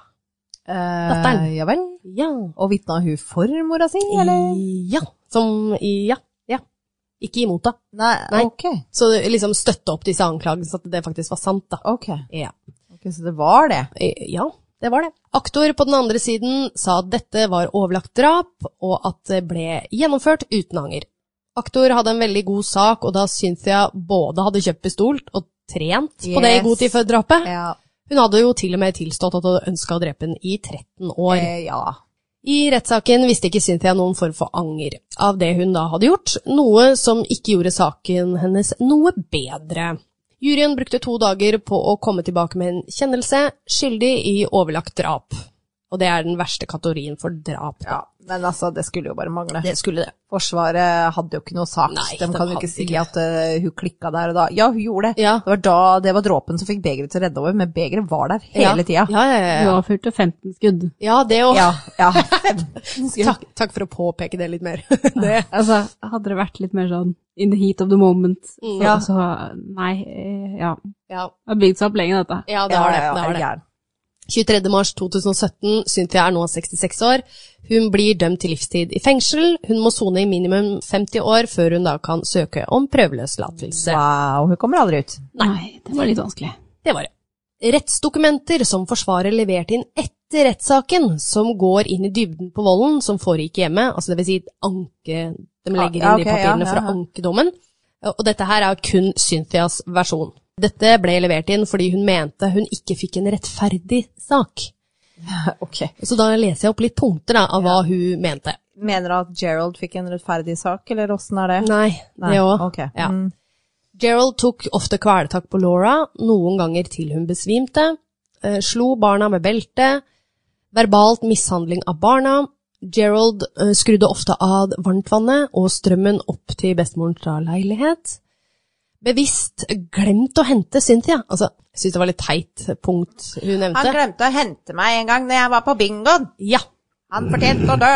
Speaker 1: Datteren.
Speaker 2: Eh, Ja vel.
Speaker 1: Ja.
Speaker 2: Og vitna hun for mora si, eller?
Speaker 1: Ja. Som i ja. Ja. Ikke imot, da.
Speaker 2: Nei,
Speaker 1: Nei.
Speaker 2: ok.
Speaker 1: Så liksom støtte opp disse anklagene, at det faktisk var sant, da.
Speaker 2: Ok,
Speaker 1: Ja.
Speaker 2: ok, så det var det.
Speaker 1: Eh, Ja, det var det. Aktor på den andre siden sa at dette var overlagt drap, og at det ble gjennomført uten anger. Aktor hadde en veldig god sak, og da Cynthia både hadde kjøpt pistol og trent på det i god tid før drapet.
Speaker 2: Eh, Ja.
Speaker 1: Hun hadde jo til og med tilstått at hun ønska å drepe henne i 13 år.
Speaker 2: Eh, ja.
Speaker 1: I rettssaken visste ikke Cynthia noen form for anger av det hun da hadde gjort, noe som ikke gjorde saken hennes noe bedre. Juryen brukte to dager på å komme tilbake med en kjennelse skyldig i overlagt drap. Og det er den verste kategorien for drap. da.
Speaker 2: ja. Men altså, det skulle jo bare mangle.
Speaker 1: Det skulle det.
Speaker 2: Forsvaret hadde jo ikke noe sak.
Speaker 1: Nei, de
Speaker 2: de kan jo
Speaker 1: hadde
Speaker 2: ikke si
Speaker 1: ikke.
Speaker 2: at eh, hun klikka der og da. Ja, hun gjorde det.
Speaker 1: Ja.
Speaker 2: Det var da det var dråpen som fikk begeret til å redde over, men begeret var der hele
Speaker 1: ja.
Speaker 2: tida.
Speaker 1: Ja, ja,
Speaker 3: Hun
Speaker 1: ja.
Speaker 3: avfyrte 15 skudd.
Speaker 1: ja, det òg.
Speaker 2: Ja, ja.
Speaker 1: Takk, takk for å påpeke det litt mer. det.
Speaker 3: Altså, hadde det vært litt mer sånn in the heat of the moment, så,
Speaker 1: Ja.
Speaker 3: så nei, eh, ja.
Speaker 1: Ja,
Speaker 3: Det har bygd seg opp lenge, dette.
Speaker 1: ja det har det. det,
Speaker 2: er
Speaker 1: har
Speaker 2: du
Speaker 1: det.
Speaker 2: gæren?
Speaker 1: 23. mars 2017, Cynthia er nå 66 år. Hun blir dømt til livstid i fengsel. Hun må sone i minimum 50 år før hun da kan søke om prøveløslatelse.
Speaker 2: Wow, hun kommer aldri ut.
Speaker 3: Nei, det var litt vanskelig.
Speaker 1: Det var det. Rettsdokumenter som forsvarer leverte inn etter rettssaken, som går inn i dybden på volden som foregikk hjemme, altså det vil si anke De legger inn
Speaker 2: Ah, Ja,
Speaker 1: de
Speaker 2: ok, ja,
Speaker 1: papirene
Speaker 2: ja,
Speaker 1: for
Speaker 2: ja.
Speaker 1: å anke dommen. Og dette her er kun Cynthias versjon. Dette ble levert inn fordi hun mente hun ikke fikk en rettferdig sak.
Speaker 2: Ok.
Speaker 1: Så da leser jeg opp litt punkter da, av hva hun mente.
Speaker 2: Mener du at Gerald fikk en rettferdig sak, eller åssen er det?
Speaker 1: Nei, det òg.
Speaker 2: ok.
Speaker 1: Ja.
Speaker 2: Mm.
Speaker 1: Gerald tok ofte kvelertak på Laura, noen ganger til hun besvimte, eh, slo barna med belte, verbalt mishandling av barna. Gerald eh, skrudde ofte av varmtvannet og strømmen opp til bestemorens da leilighet. Bevisst glemt å hente Cynthia. Altså, jeg syns det var litt teit punkt hun
Speaker 2: Han
Speaker 1: nevnte.
Speaker 2: glemte å hente meg en gang når jeg var på bingoen.
Speaker 1: Ja.
Speaker 2: Han fortjente å dø.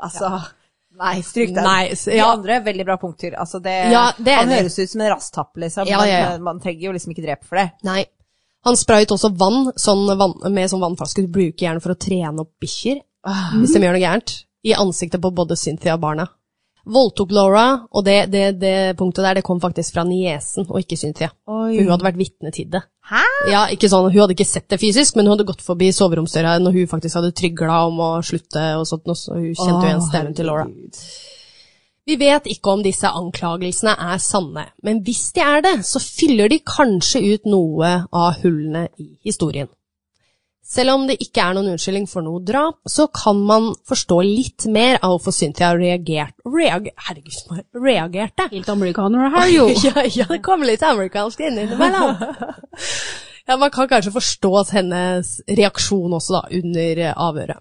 Speaker 2: altså, nei, stryk den.
Speaker 1: Nei, s-
Speaker 2: De
Speaker 1: ja.
Speaker 2: andre, veldig bra punkter. Altså, det,
Speaker 1: Ja, det er
Speaker 2: han
Speaker 1: det.
Speaker 2: høres ut som en rasstapp, liksom.
Speaker 1: Ja,
Speaker 2: men,
Speaker 1: ja, ja.
Speaker 2: eh, Man trenger jo liksom ikke drepe for det.
Speaker 1: Nei. Han sprayet også vann, sånn vann med sånn vannflaske du bruker gjerne for å trene opp bikkjer, hvis de gjør noe gærent, i ansiktet på både Cynthia og barna. Voldtok Laura, og det, det, det punktet der det kom faktisk fra niesen og ikke Cynthia. For hun hadde vært vitne til det.
Speaker 2: Hæ?
Speaker 1: Ja, ikke sånn, Hun hadde ikke sett det fysisk, men hun hadde gått forbi soveromsdøra når hun faktisk hadde trygla om å slutte og sånt, og så hun kjente jo igjen stemmen til Laura. Vi vet ikke om disse anklagelsene er sanne, men hvis de er det, så fyller de kanskje ut noe av hullene i historien. Selv om det ikke er noen unnskyldning for noe drap, så kan man forstå litt mer av hvorfor Cynthia reagert, reag, herregud, meg, reagerte.
Speaker 3: Helt amerikaner her, jo.
Speaker 1: Ja, ja, det kom litt amerikansk inn innimellom. Ja, man kan kanskje forstå hennes reaksjon også, da, under eh, avhøret.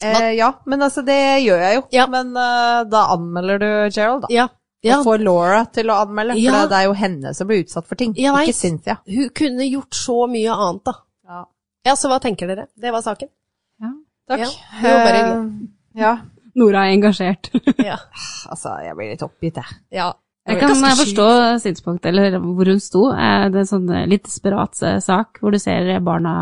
Speaker 2: Eh, ja, men altså, det gjør jeg jo.
Speaker 1: Ja.
Speaker 2: Men eh, da anmelder du Gerald, da.
Speaker 1: Ja, ja.
Speaker 2: Og får Laura til å anmelde, for
Speaker 1: Ja.
Speaker 2: det- det er jo henne som blir utsatt for ting,
Speaker 1: Jeg vet.
Speaker 2: ikke Cynthia.
Speaker 1: Hun kunne gjort så mye annet, da.
Speaker 2: Ja.
Speaker 1: Ja, så hva tenker dere? Det var saken.
Speaker 2: Takk.
Speaker 1: Ja, det var bare hyggelig.
Speaker 2: Eh, ja,
Speaker 3: Nora er engasjert.
Speaker 1: Ja.
Speaker 2: altså, jeg blir litt oppgitt, jeg.
Speaker 1: ja.
Speaker 3: Jeg kan eh, forstå synspunktet, eller hvor hun sto. Eh, Det er en sånn eh, litt desperat eh, sak, hvor du ser eh, barna,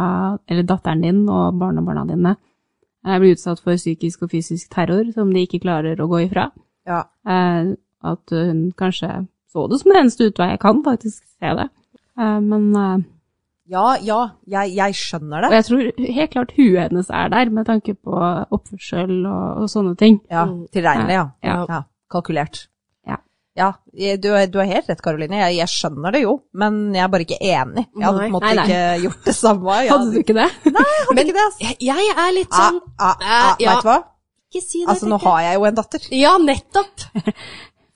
Speaker 3: eller datteren din og barnebarna dine eh, bli utsatt for psykisk og fysisk terror som de ikke klarer å gå ifra.
Speaker 2: Ja.
Speaker 3: Eh, At hun kanskje så det som den eneste utvei. Jeg kan faktisk se det. Eh, Men eh,
Speaker 2: Ja, ja, jeg, jeg skjønner
Speaker 3: Og
Speaker 2: det.
Speaker 3: jeg tror helt klart huet hennes er der, med tanke på oppførsel og, og sånne ting.
Speaker 2: Ja, Tilregnelig, ja.
Speaker 3: Ja.
Speaker 2: ja. Kalkulert.
Speaker 3: Ja.
Speaker 2: Ja, jeg- du, er- du er helt rett, Karoline. Jeg, jeg skjønner det jo, men jeg er bare ikke enig. Jeg hadde på en måte
Speaker 3: Nei, nei.
Speaker 2: ikke gjort det samme. Jeg
Speaker 3: Hadde du ikke det?
Speaker 2: jeg hadde
Speaker 1: Men-
Speaker 2: ikke det, ass.
Speaker 1: Jeg- Jeg er litt
Speaker 2: Ah,
Speaker 1: sånn
Speaker 2: ah, ah,
Speaker 1: Ja.
Speaker 2: Vet du hva?
Speaker 1: Ikke si det.
Speaker 2: Altså, nå
Speaker 1: Rikke.
Speaker 2: har jeg jo en datter.
Speaker 1: Ja, nettopp.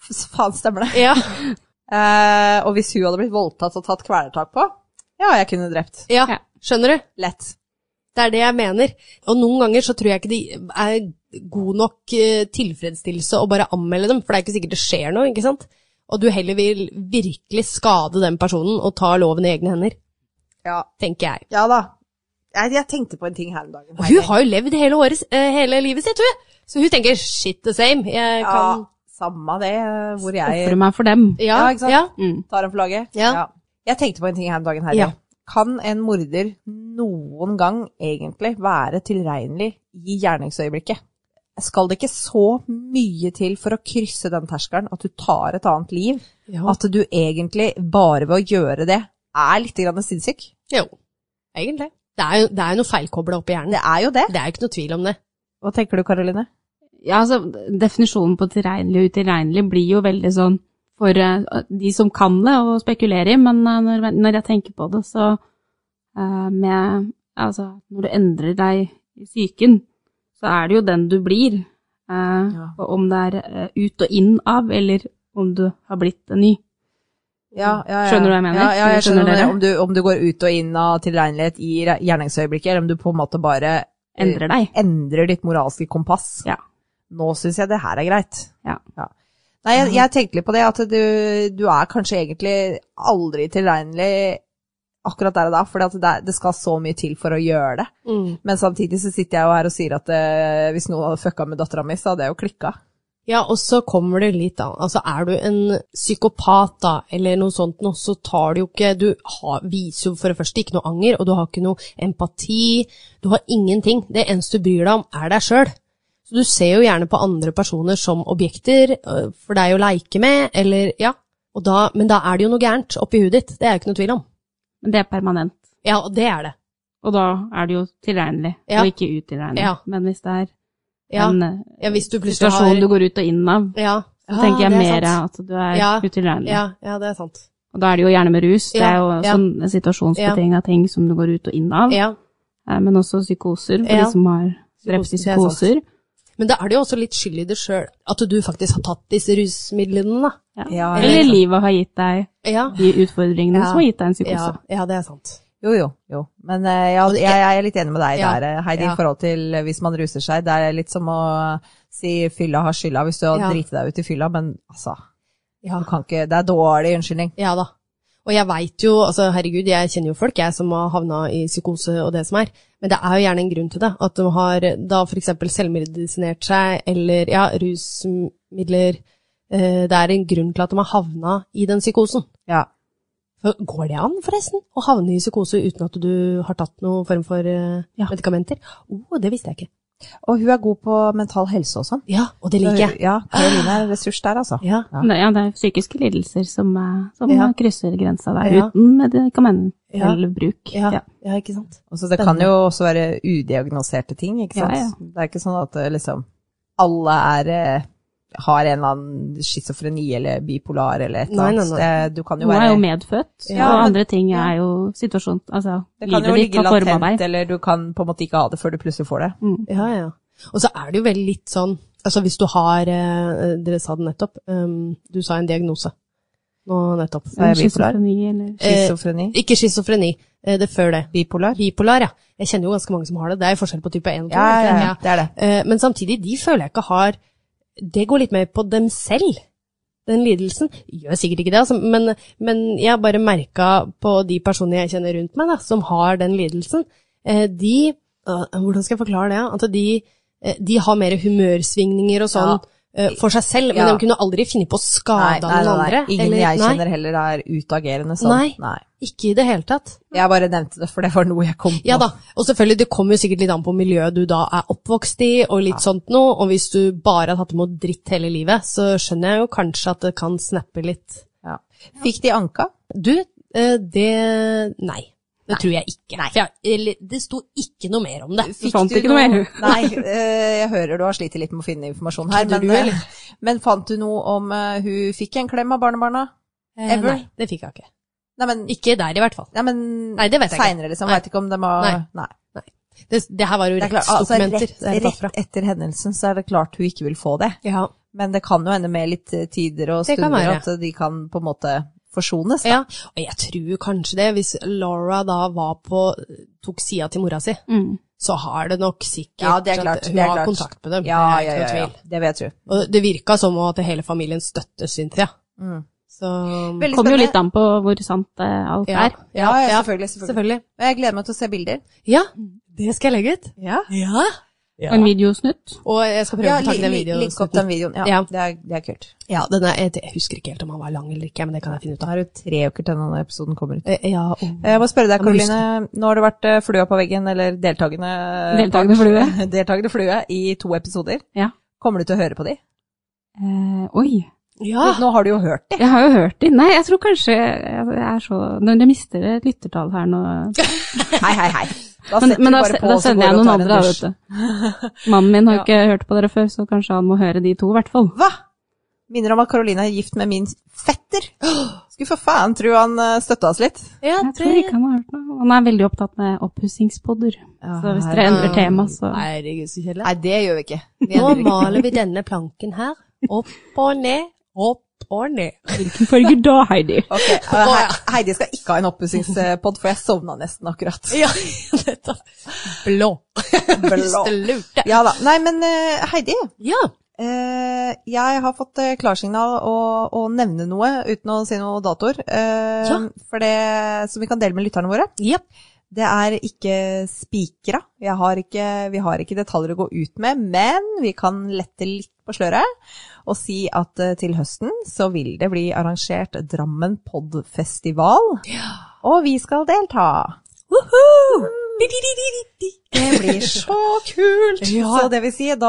Speaker 2: Så faen stemmer det.
Speaker 1: Ja,
Speaker 2: Eh, og hvis hun hadde blitt voldtatt og tatt kvelertak på, ja, jeg kunne drept.
Speaker 1: ja.
Speaker 3: Ja.
Speaker 1: Skjønner du?
Speaker 2: Lett.
Speaker 1: Det er det jeg mener. Og noen ganger så tror jeg ikke det er god nok eh, tilfredsstillelse å bare anmelde dem, for det er ikke sikkert det skjer noe, ikke sant? Og du heller vil virkelig skade den personen og ta loven i egne hender,
Speaker 2: Ja,
Speaker 1: tenker jeg.
Speaker 2: ja da. Jeg, jeg tenkte på en ting her om dagen.
Speaker 1: Og hun har jo levd hele, året, eh, hele livet sitt, hun. Så hun tenker shit the same. Jeg
Speaker 2: ja,
Speaker 1: kan
Speaker 2: Samme det, hvor jeg
Speaker 3: Ofre meg for dem.
Speaker 1: Ja,
Speaker 2: Ja, ikke sant?
Speaker 1: ja.
Speaker 3: Mm.
Speaker 2: tar en flagge.
Speaker 1: Ja.
Speaker 2: Jeg tenkte på en ting her om dagen,
Speaker 1: Ja.
Speaker 2: Herre. Kan en morder noen gang egentlig være tilregnelig i gjerningsøyeblikket? Skal det ikke så mye til for å krysse den terskelen at du tar et annet liv?
Speaker 1: Ja.
Speaker 2: At du egentlig bare ved å gjøre det er litt grann sinnssyk?
Speaker 1: Jo, egentlig. Det er jo, det er jo noe feilkobla oppi hjernen.
Speaker 2: Det er jo det.
Speaker 1: Det er jo ikke noe tvil om det.
Speaker 2: Hva tenker du, Karoline?
Speaker 3: Ja, altså, definisjonen på tilregnelig og utilregnelig blir jo veldig sånn for eh, de som kan det og spekulerer i, men eh, når, når jeg tenker på det, så eh, med Altså, når du endrer deg i psyken, så er det jo den du blir. eh, Og om det er eh, ut og inn av, eller om du har blitt en ny.
Speaker 2: Ja, ja, ja.
Speaker 3: Skjønner du hva jeg mener?
Speaker 2: Ja, ja jeg skjønner,
Speaker 3: Skjønner dere?
Speaker 2: det. Om, du, om du går ut og inn av tilregnelighet i re- gjerningsøyeblikket, eller om du på en måte bare eh,
Speaker 3: Endrer deg.
Speaker 2: endrer ditt moralske kompass.
Speaker 3: Ja.
Speaker 2: Nå syns jeg det her er greit.
Speaker 3: Ja.
Speaker 2: Nei, jeg, jeg tenkte litt på det, at du, du er kanskje egentlig aldri tilregnelig akkurat der og da, for det, er- det skal så mye til for å gjøre det.
Speaker 1: Mm.
Speaker 2: Men samtidig så sitter jeg jo her og sier at eh, hvis noen hadde fucka med dattera mi, så hadde jeg jo klikka.
Speaker 1: Ja, og så kommer det litt an. Altså, er du en psykopat da, eller noe sånt nå, så tar du jo ikke Du har, viser jo for det første ikke noe anger, og du har ikke noe empati. Du har ingenting. Det eneste du bryr deg om, er deg sjøl. Så du ser jo gjerne på andre personer som objekter øh, for deg å leike med, eller ja. Og da, men da er det jo noe gærent oppi huet ditt. Det er jeg ikke noe tvil om.
Speaker 3: Men det er permanent.
Speaker 1: Ja, og det er det.
Speaker 3: Og da er det jo tilregnelig,
Speaker 1: Ja.
Speaker 3: og ikke utilregnelig.
Speaker 1: Ja.
Speaker 3: Men hvis det er
Speaker 1: Ja,
Speaker 3: en eh,
Speaker 1: ja hvis du plutselig har
Speaker 3: situasjon du går ut og inn av,
Speaker 1: Ja,
Speaker 3: så tenker jeg
Speaker 1: det er
Speaker 3: mer
Speaker 1: sant.
Speaker 3: at du er
Speaker 1: Ja.
Speaker 3: utilregnelig.
Speaker 1: ja, ja, det er sant.
Speaker 3: Og da er det jo gjerne med rus. Det
Speaker 1: Ja,
Speaker 3: er jo
Speaker 1: ja.
Speaker 3: sånn en situasjonsbetinga ting som du går ut og inn av.
Speaker 1: Ja.
Speaker 3: Eh, Men også psykoser, for
Speaker 1: Ja.
Speaker 3: de som har drept i
Speaker 1: Psykose, det er sant.
Speaker 3: psykoser.
Speaker 1: Men da er det jo også litt skyld i det sjøl, at du faktisk har tatt disse rusmidlene, da.
Speaker 2: Ja,
Speaker 3: Eller livet har gitt deg
Speaker 1: Ja,
Speaker 3: de utfordringene
Speaker 1: Ja.
Speaker 3: som har gitt deg en
Speaker 1: ja,
Speaker 3: psykose.
Speaker 1: ja det er sant.
Speaker 2: Jo, jo, jo. Men eh, jeg, jeg, jeg er litt enig med deg
Speaker 1: Ja.
Speaker 2: der, eh, Heidi,
Speaker 1: Ja.
Speaker 2: i forhold til eh, hvis man ruser seg. Det er litt som å si fylla har skylda hvis du har
Speaker 1: Ja.
Speaker 2: driti deg ut i fylla, men altså,
Speaker 1: Ja,
Speaker 2: du kan ikke, det er dårlig unnskyldning.
Speaker 1: ja da. Og jeg veit jo, altså herregud, jeg kjenner jo folk jeg som har havna i psykose og det som er, men det er jo gjerne en grunn til det. At de har da f.eks. selvmedisinert seg, eller ja, rusmidler eh, Det er en grunn til at de har havna i den psykosen.
Speaker 2: Ja.
Speaker 1: For Går det an, forresten, å havne i psykose uten at du har tatt noen form for eh, medikamenter? Å, oh, det visste jeg ikke.
Speaker 2: Og hun er god på mental helse og sånn.
Speaker 1: Ja, og det liker jeg.
Speaker 2: Ja, Karoline er en ressurs der, altså.
Speaker 1: Ja.
Speaker 2: Ja.
Speaker 3: Det, ja, det er psykiske lidelser som, eh, som
Speaker 1: Ja.
Speaker 3: krysser grensa der,
Speaker 1: Ja.
Speaker 3: uten medikamentell
Speaker 1: Ja.
Speaker 3: bruk.
Speaker 1: Ja,
Speaker 3: Ja.
Speaker 1: ja, ikke sant.
Speaker 2: Og så det kan
Speaker 1: Spennende.
Speaker 2: jo også være udiagnoserte ting, ikke sant?
Speaker 3: Ja, ja.
Speaker 2: Det er ikke sånn at eh, liksom alle er eh, har en eller annen schizofreni eller bipolar eller et eller
Speaker 1: Nei, nei,
Speaker 2: annet. Det- Du kan jo
Speaker 3: Noe
Speaker 2: være
Speaker 3: er jo medfødt,
Speaker 2: Ja,
Speaker 3: og
Speaker 2: men-
Speaker 3: andre ting
Speaker 2: ja.
Speaker 3: er jo situasjon Altså,
Speaker 2: Det kan jo
Speaker 3: livet ditt
Speaker 2: ligge
Speaker 3: har forma
Speaker 2: latent,
Speaker 3: deg.
Speaker 2: eller du kan på en måte ikke ha det før du plutselig får det.
Speaker 1: Ja, ja. Og så er det jo veldig litt sånn Altså hvis du har eh, Dere sa det nettopp. ehm, du sa en diagnose nå nettopp.
Speaker 2: er jeg bipolar.
Speaker 3: Schizofreni eller
Speaker 2: Eh, Schizofreni.
Speaker 1: Ikke schizofreni, eh, det er før det.
Speaker 2: Bipolar.
Speaker 1: Bipolar, ja. Jeg kjenner jo ganske mange som har det. Det er jo forskjell på type 1 og 2.
Speaker 2: Ja, ja, ja, det er det.
Speaker 1: Eh, men samtidig, de føler jeg ikke har Det går litt mer på dem selv, den lidelsen. Gjør sikkert ikke det, altså, men, men jeg har bare merka på de personene jeg kjenner rundt meg, da, som har den lidelsen. Eh, de øh, Hvordan skal jeg forklare det? At de, eh, de har mer humørsvingninger og sånn.
Speaker 2: Ja.
Speaker 1: eh, For seg selv, men
Speaker 2: Ja.
Speaker 1: de kunne aldri finne på å skade noen andre.
Speaker 2: Ingen
Speaker 1: eller-
Speaker 2: jeg
Speaker 1: nei,
Speaker 2: kjenner heller er utagerende sånn.
Speaker 1: Nei. Ikke i det hele tatt.
Speaker 2: Jeg bare nevnte det, for det var noe jeg kom på.
Speaker 1: Ja da, og selvfølgelig, det kommer jo sikkert litt an på miljøet du da er oppvokst i, og litt sånt noe, og hvis du bare har tatt imot dritt hele livet, så skjønner jeg jo kanskje at det kan snappe litt.
Speaker 2: Ja. Fikk de anka?
Speaker 1: Du, eh, det Nei, det tror jeg ikke. For jeg, eller, det sto ikke noe mer om det.
Speaker 2: Fikk
Speaker 3: fant ikke noe mer, du?
Speaker 2: Nei, eh, jeg hører du har slitt litt med å finne informasjon her,
Speaker 1: Kødder
Speaker 2: men,
Speaker 1: du, eller?
Speaker 2: eh, men fant du noe om eh, hun fikk en klem av barnebarna?
Speaker 1: Eh,
Speaker 2: ever?
Speaker 1: Nei, det fikk jeg ikke.
Speaker 2: Nei, men,
Speaker 1: Ikke der, i hvert fall.
Speaker 2: nei, men
Speaker 1: Nei, det vet jeg ikke.
Speaker 2: seinere, liksom.
Speaker 1: Nei.
Speaker 2: Veit ikke om de har
Speaker 1: Nei. Det, det her var jo
Speaker 2: Det er klart, altså,
Speaker 1: rettsdokumenter.
Speaker 2: rett,
Speaker 1: det er tatt fra.
Speaker 2: rett etter hendelsen så er det klart hun ikke vil få det.
Speaker 1: Ja.
Speaker 2: Men det kan jo hende med litt eh, tider og
Speaker 1: Det kan
Speaker 2: stunder
Speaker 1: være.
Speaker 2: at de kan på en måte forsones. Da.
Speaker 1: ja. Og jeg tror kanskje det, hvis Laura da var på Tok sida til mora si,
Speaker 3: Mm.
Speaker 1: så har det nok sikkert
Speaker 2: Ja, det er klart,
Speaker 1: at hun
Speaker 2: det er
Speaker 1: har
Speaker 2: klart.
Speaker 1: kontakt med dem.
Speaker 2: Ja,
Speaker 1: det
Speaker 2: ja,
Speaker 1: er ikke
Speaker 2: ja,
Speaker 1: noe
Speaker 2: ja.
Speaker 1: tvil.
Speaker 2: Det vil jeg tro.
Speaker 1: Og det virka som om at hele familien støtter Cynthia.
Speaker 2: Mm.
Speaker 1: Så
Speaker 2: Veldig
Speaker 3: Kommer
Speaker 2: spennende.
Speaker 3: jo litt an på hvor sant eh, alt
Speaker 1: ja,
Speaker 3: er.
Speaker 2: Ja, ja,
Speaker 1: ja,
Speaker 2: selvfølgelig, selvfølgelig.
Speaker 1: selvfølgelig.
Speaker 2: Og jeg gleder meg til å se bilder.
Speaker 1: Ja, det skal jeg legge ut.
Speaker 2: Ja.
Speaker 1: Ja.
Speaker 3: Og en videosnutt.
Speaker 1: Og jeg skal prøve
Speaker 2: Ja,
Speaker 1: å få tak i den
Speaker 2: li- li-
Speaker 1: videoen.
Speaker 2: Link opp den videoen. Ja,
Speaker 1: Ja.
Speaker 2: Det, er, det er kult.
Speaker 1: Ja, den er, jeg, jeg husker ikke helt om han var lang eller ikke, men det kan jeg finne ut
Speaker 2: Da
Speaker 1: av.
Speaker 2: har du tre uker til denne episoden kommer ut.
Speaker 1: Eh, Ja, og-
Speaker 2: Jeg må spørre deg,
Speaker 1: Jeg må huske.
Speaker 2: Karoline. Nå har det vært eh, flua på veggen, eller deltakende
Speaker 3: Deltakende flue.
Speaker 2: deltakende flue i to episoder.
Speaker 3: Ja.
Speaker 2: Kommer du til å høre på de?
Speaker 3: Eh, oi.
Speaker 1: ja.
Speaker 2: Nå har du jo hørt de.
Speaker 3: Jeg har jo hørt de. Nei, jeg tror kanskje jeg er så Når jeg mister et lyttertall her nå
Speaker 2: Hei, hei, hei. Da
Speaker 3: Men,
Speaker 2: setter
Speaker 3: men
Speaker 2: du
Speaker 3: da,
Speaker 2: bare
Speaker 3: se-
Speaker 2: på,
Speaker 3: da
Speaker 2: og så
Speaker 3: sender
Speaker 2: går
Speaker 3: jeg
Speaker 2: du og
Speaker 3: noen
Speaker 2: tar en
Speaker 3: andre, da,
Speaker 2: dusj.
Speaker 3: vet du. Mannen min har
Speaker 2: Ja.
Speaker 3: ikke hørt på dere før, så kanskje han må høre de to, i hvert fall.
Speaker 2: Hva? Minner om at Karoline er gift med min fetter. Skulle for faen tro han eh, støtta oss litt.
Speaker 1: ja
Speaker 3: Jeg tror ikke han har hørt noe. Han er veldig opptatt med oppussingspodder. Så hvis dere endrer tema, så
Speaker 1: Herregud, så kjedelig.
Speaker 2: Nei, det gjør vi ikke. Vi
Speaker 1: Nå
Speaker 2: endrer ikke.
Speaker 1: maler vi denne planken her. Opp og ned, opp og ned.
Speaker 3: Hvilken farger da, Heidi?
Speaker 2: Ok, eh, He- Heidi skal ikke ha en oppussingspod, for jeg sovna nesten akkurat.
Speaker 1: Ja, nettopp. Blå.
Speaker 2: Blå.
Speaker 1: Lurte.
Speaker 2: Ja da. Nei, men eh, Heidi.
Speaker 1: Ja.
Speaker 2: eh, jeg har fått eh, klarsignal å, å nevne noe uten å si noe datoer. eh,
Speaker 1: Ja.
Speaker 2: For det som vi kan dele med lytterne våre.
Speaker 1: Jep.
Speaker 2: Det er ikke spikra. Jeg har ikke, vi har ikke detaljer å gå ut med, men vi kan lette litt på sløret og si at eh, til høsten så vil det bli arrangert Drammen Podfestival. Og vi skal delta. Det blir så kult!
Speaker 1: Ja.
Speaker 2: Så det vil si, da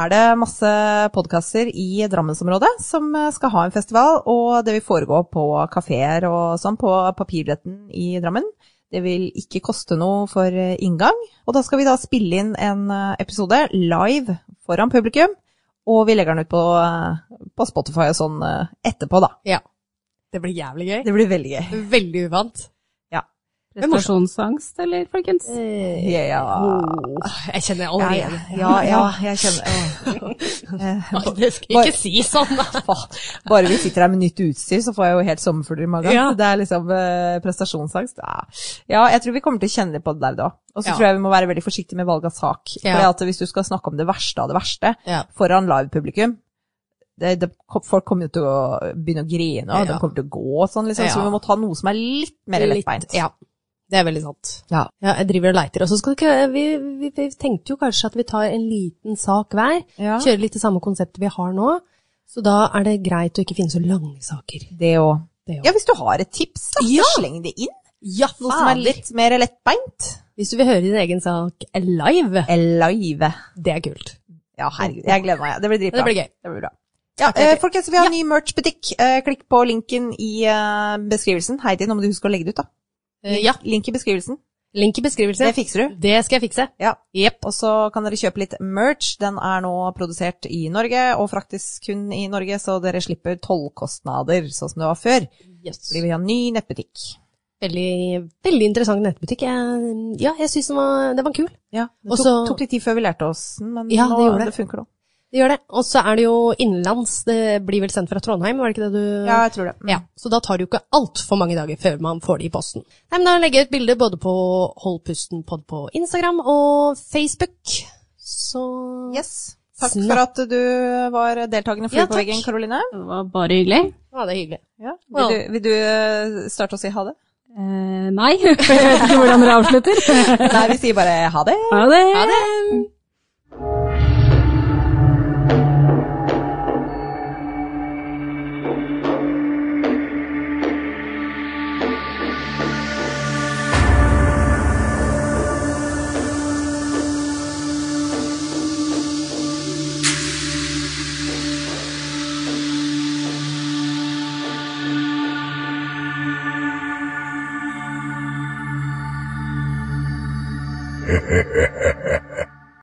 Speaker 2: er det masse podkaster i Drammensområdet som eh, skal ha en festival, og det vil foregå på kafeer og sånn på Papirretten i Drammen. Det vil ikke koste noe for eh, inngang. Og da skal vi da spille inn en eh, episode live foran publikum, og vi legger den ut på, eh, på Spotify og sånn eh, etterpå, da.
Speaker 1: Ja. Det blir jævlig gøy.
Speaker 2: Det blir veldig gøy.
Speaker 1: Veldig uvant. er morsomt.
Speaker 3: Prestasjonsangst, eller, folkens?
Speaker 2: Eh. Ja,
Speaker 1: Åh, jeg kjenner
Speaker 2: ja,
Speaker 1: allerede.
Speaker 2: ja, ja, ja jeg kjenner Åh. Eh,
Speaker 1: Det skal jeg ikke si sånn, da.
Speaker 2: Faen. Bare vi sitter her med nytt utstyr, så får jeg jo helt sommerfugler i magen.
Speaker 1: Ja.
Speaker 2: Det er liksom eh, prestasjonsangst. Ja. ja, jeg tror vi kommer til å kjenne litt på det der da. Og så
Speaker 1: Ja.
Speaker 2: tror jeg vi må være veldig forsiktige med valg av sak.
Speaker 1: Ja.
Speaker 2: For at hvis du skal snakke om det verste av det verste
Speaker 1: Ja.
Speaker 2: foran live-publikum, det, det, folk kommer jo til å begynne å grine, og
Speaker 1: Ja.
Speaker 2: de kommer til å gå og sånn, liksom.
Speaker 1: Ja.
Speaker 2: Så vi må ta noe som er litt mer lettbeint.
Speaker 1: Litt, ja. Det er veldig sant.
Speaker 2: Ja.
Speaker 1: jeg driver og leiter. Og så skal ikke, vi, vi, vi tenkte jo kanskje at vi tar en liten sak hver.
Speaker 2: Ja.
Speaker 1: Kjører litt det samme konseptet vi har nå. Så da er det greit å ikke finne så lange saker.
Speaker 2: Det òg.
Speaker 1: Det er jo-
Speaker 2: Ja, hvis du har et tips, da,
Speaker 1: Ja.
Speaker 2: så sleng det inn.
Speaker 1: Ja,
Speaker 2: Noe som er litt mer lettbeint.
Speaker 1: Hvis du vil høre din egen sak live,
Speaker 2: Live.
Speaker 1: det er kult.
Speaker 2: Ja, herregud. Jeg gleder meg. Det blir dritbra.
Speaker 1: Det blir gøy.
Speaker 2: Det blir bra. Ja, eh, folkens, vi har en ny merch-butikk. Eh, klikk på linken i eh, beskrivelsen. Heidi, nå må du huske å legge det ut, da.
Speaker 1: Eh, Ja,
Speaker 2: Link i beskrivelsen.
Speaker 1: link i beskrivelsen.
Speaker 2: Det fikser du.
Speaker 1: Det skal jeg fikse.
Speaker 2: Ja.
Speaker 1: Jepp.
Speaker 2: Og så kan dere kjøpe litt merch. Den er nå produsert i Norge, og fraktes kun i Norge, så dere slipper tollkostnader, sånn som det var før.
Speaker 1: Yes.
Speaker 2: Fordi vi har en ny nettbutikk.
Speaker 1: Veldig, veldig interessant nettbutikk. Jeg, ja, jeg syns den, var- den var kul.
Speaker 2: Ja, det
Speaker 1: Og
Speaker 2: tok,
Speaker 1: så-
Speaker 2: tok litt tid før vi lærte oss den, men
Speaker 1: Ja, det
Speaker 2: nå,
Speaker 1: gjorde
Speaker 2: det.
Speaker 1: det.
Speaker 2: funker nå.
Speaker 1: Det gjør det. Og så er det jo innenlands. Det blir vel sendt fra Trondheim, var det ikke det du
Speaker 2: Ja, jeg tror det. Mm.
Speaker 1: Ja, så da tar det jo ikke altfor mange dager før man får det i posten. Nei, men da legger jeg ut bilde både på Hold pusten pod på Instagram og Facebook. Så
Speaker 2: Yes. Takk
Speaker 1: Snakk.
Speaker 2: for at du var deltakende
Speaker 1: Ja,
Speaker 2: flue på
Speaker 1: takk.
Speaker 2: veggen, Karoline.
Speaker 3: Det var bare hyggelig.
Speaker 1: ja, det er hyggelig.
Speaker 2: Ja.
Speaker 1: Wow.
Speaker 2: Vil, du, vil du eh, starte å si ha det?
Speaker 3: Eh, nei, for jeg vet ikke hvordan dere avslutter.
Speaker 2: Nei, vi sier bare ha det.
Speaker 3: Ha det!
Speaker 1: Ha det!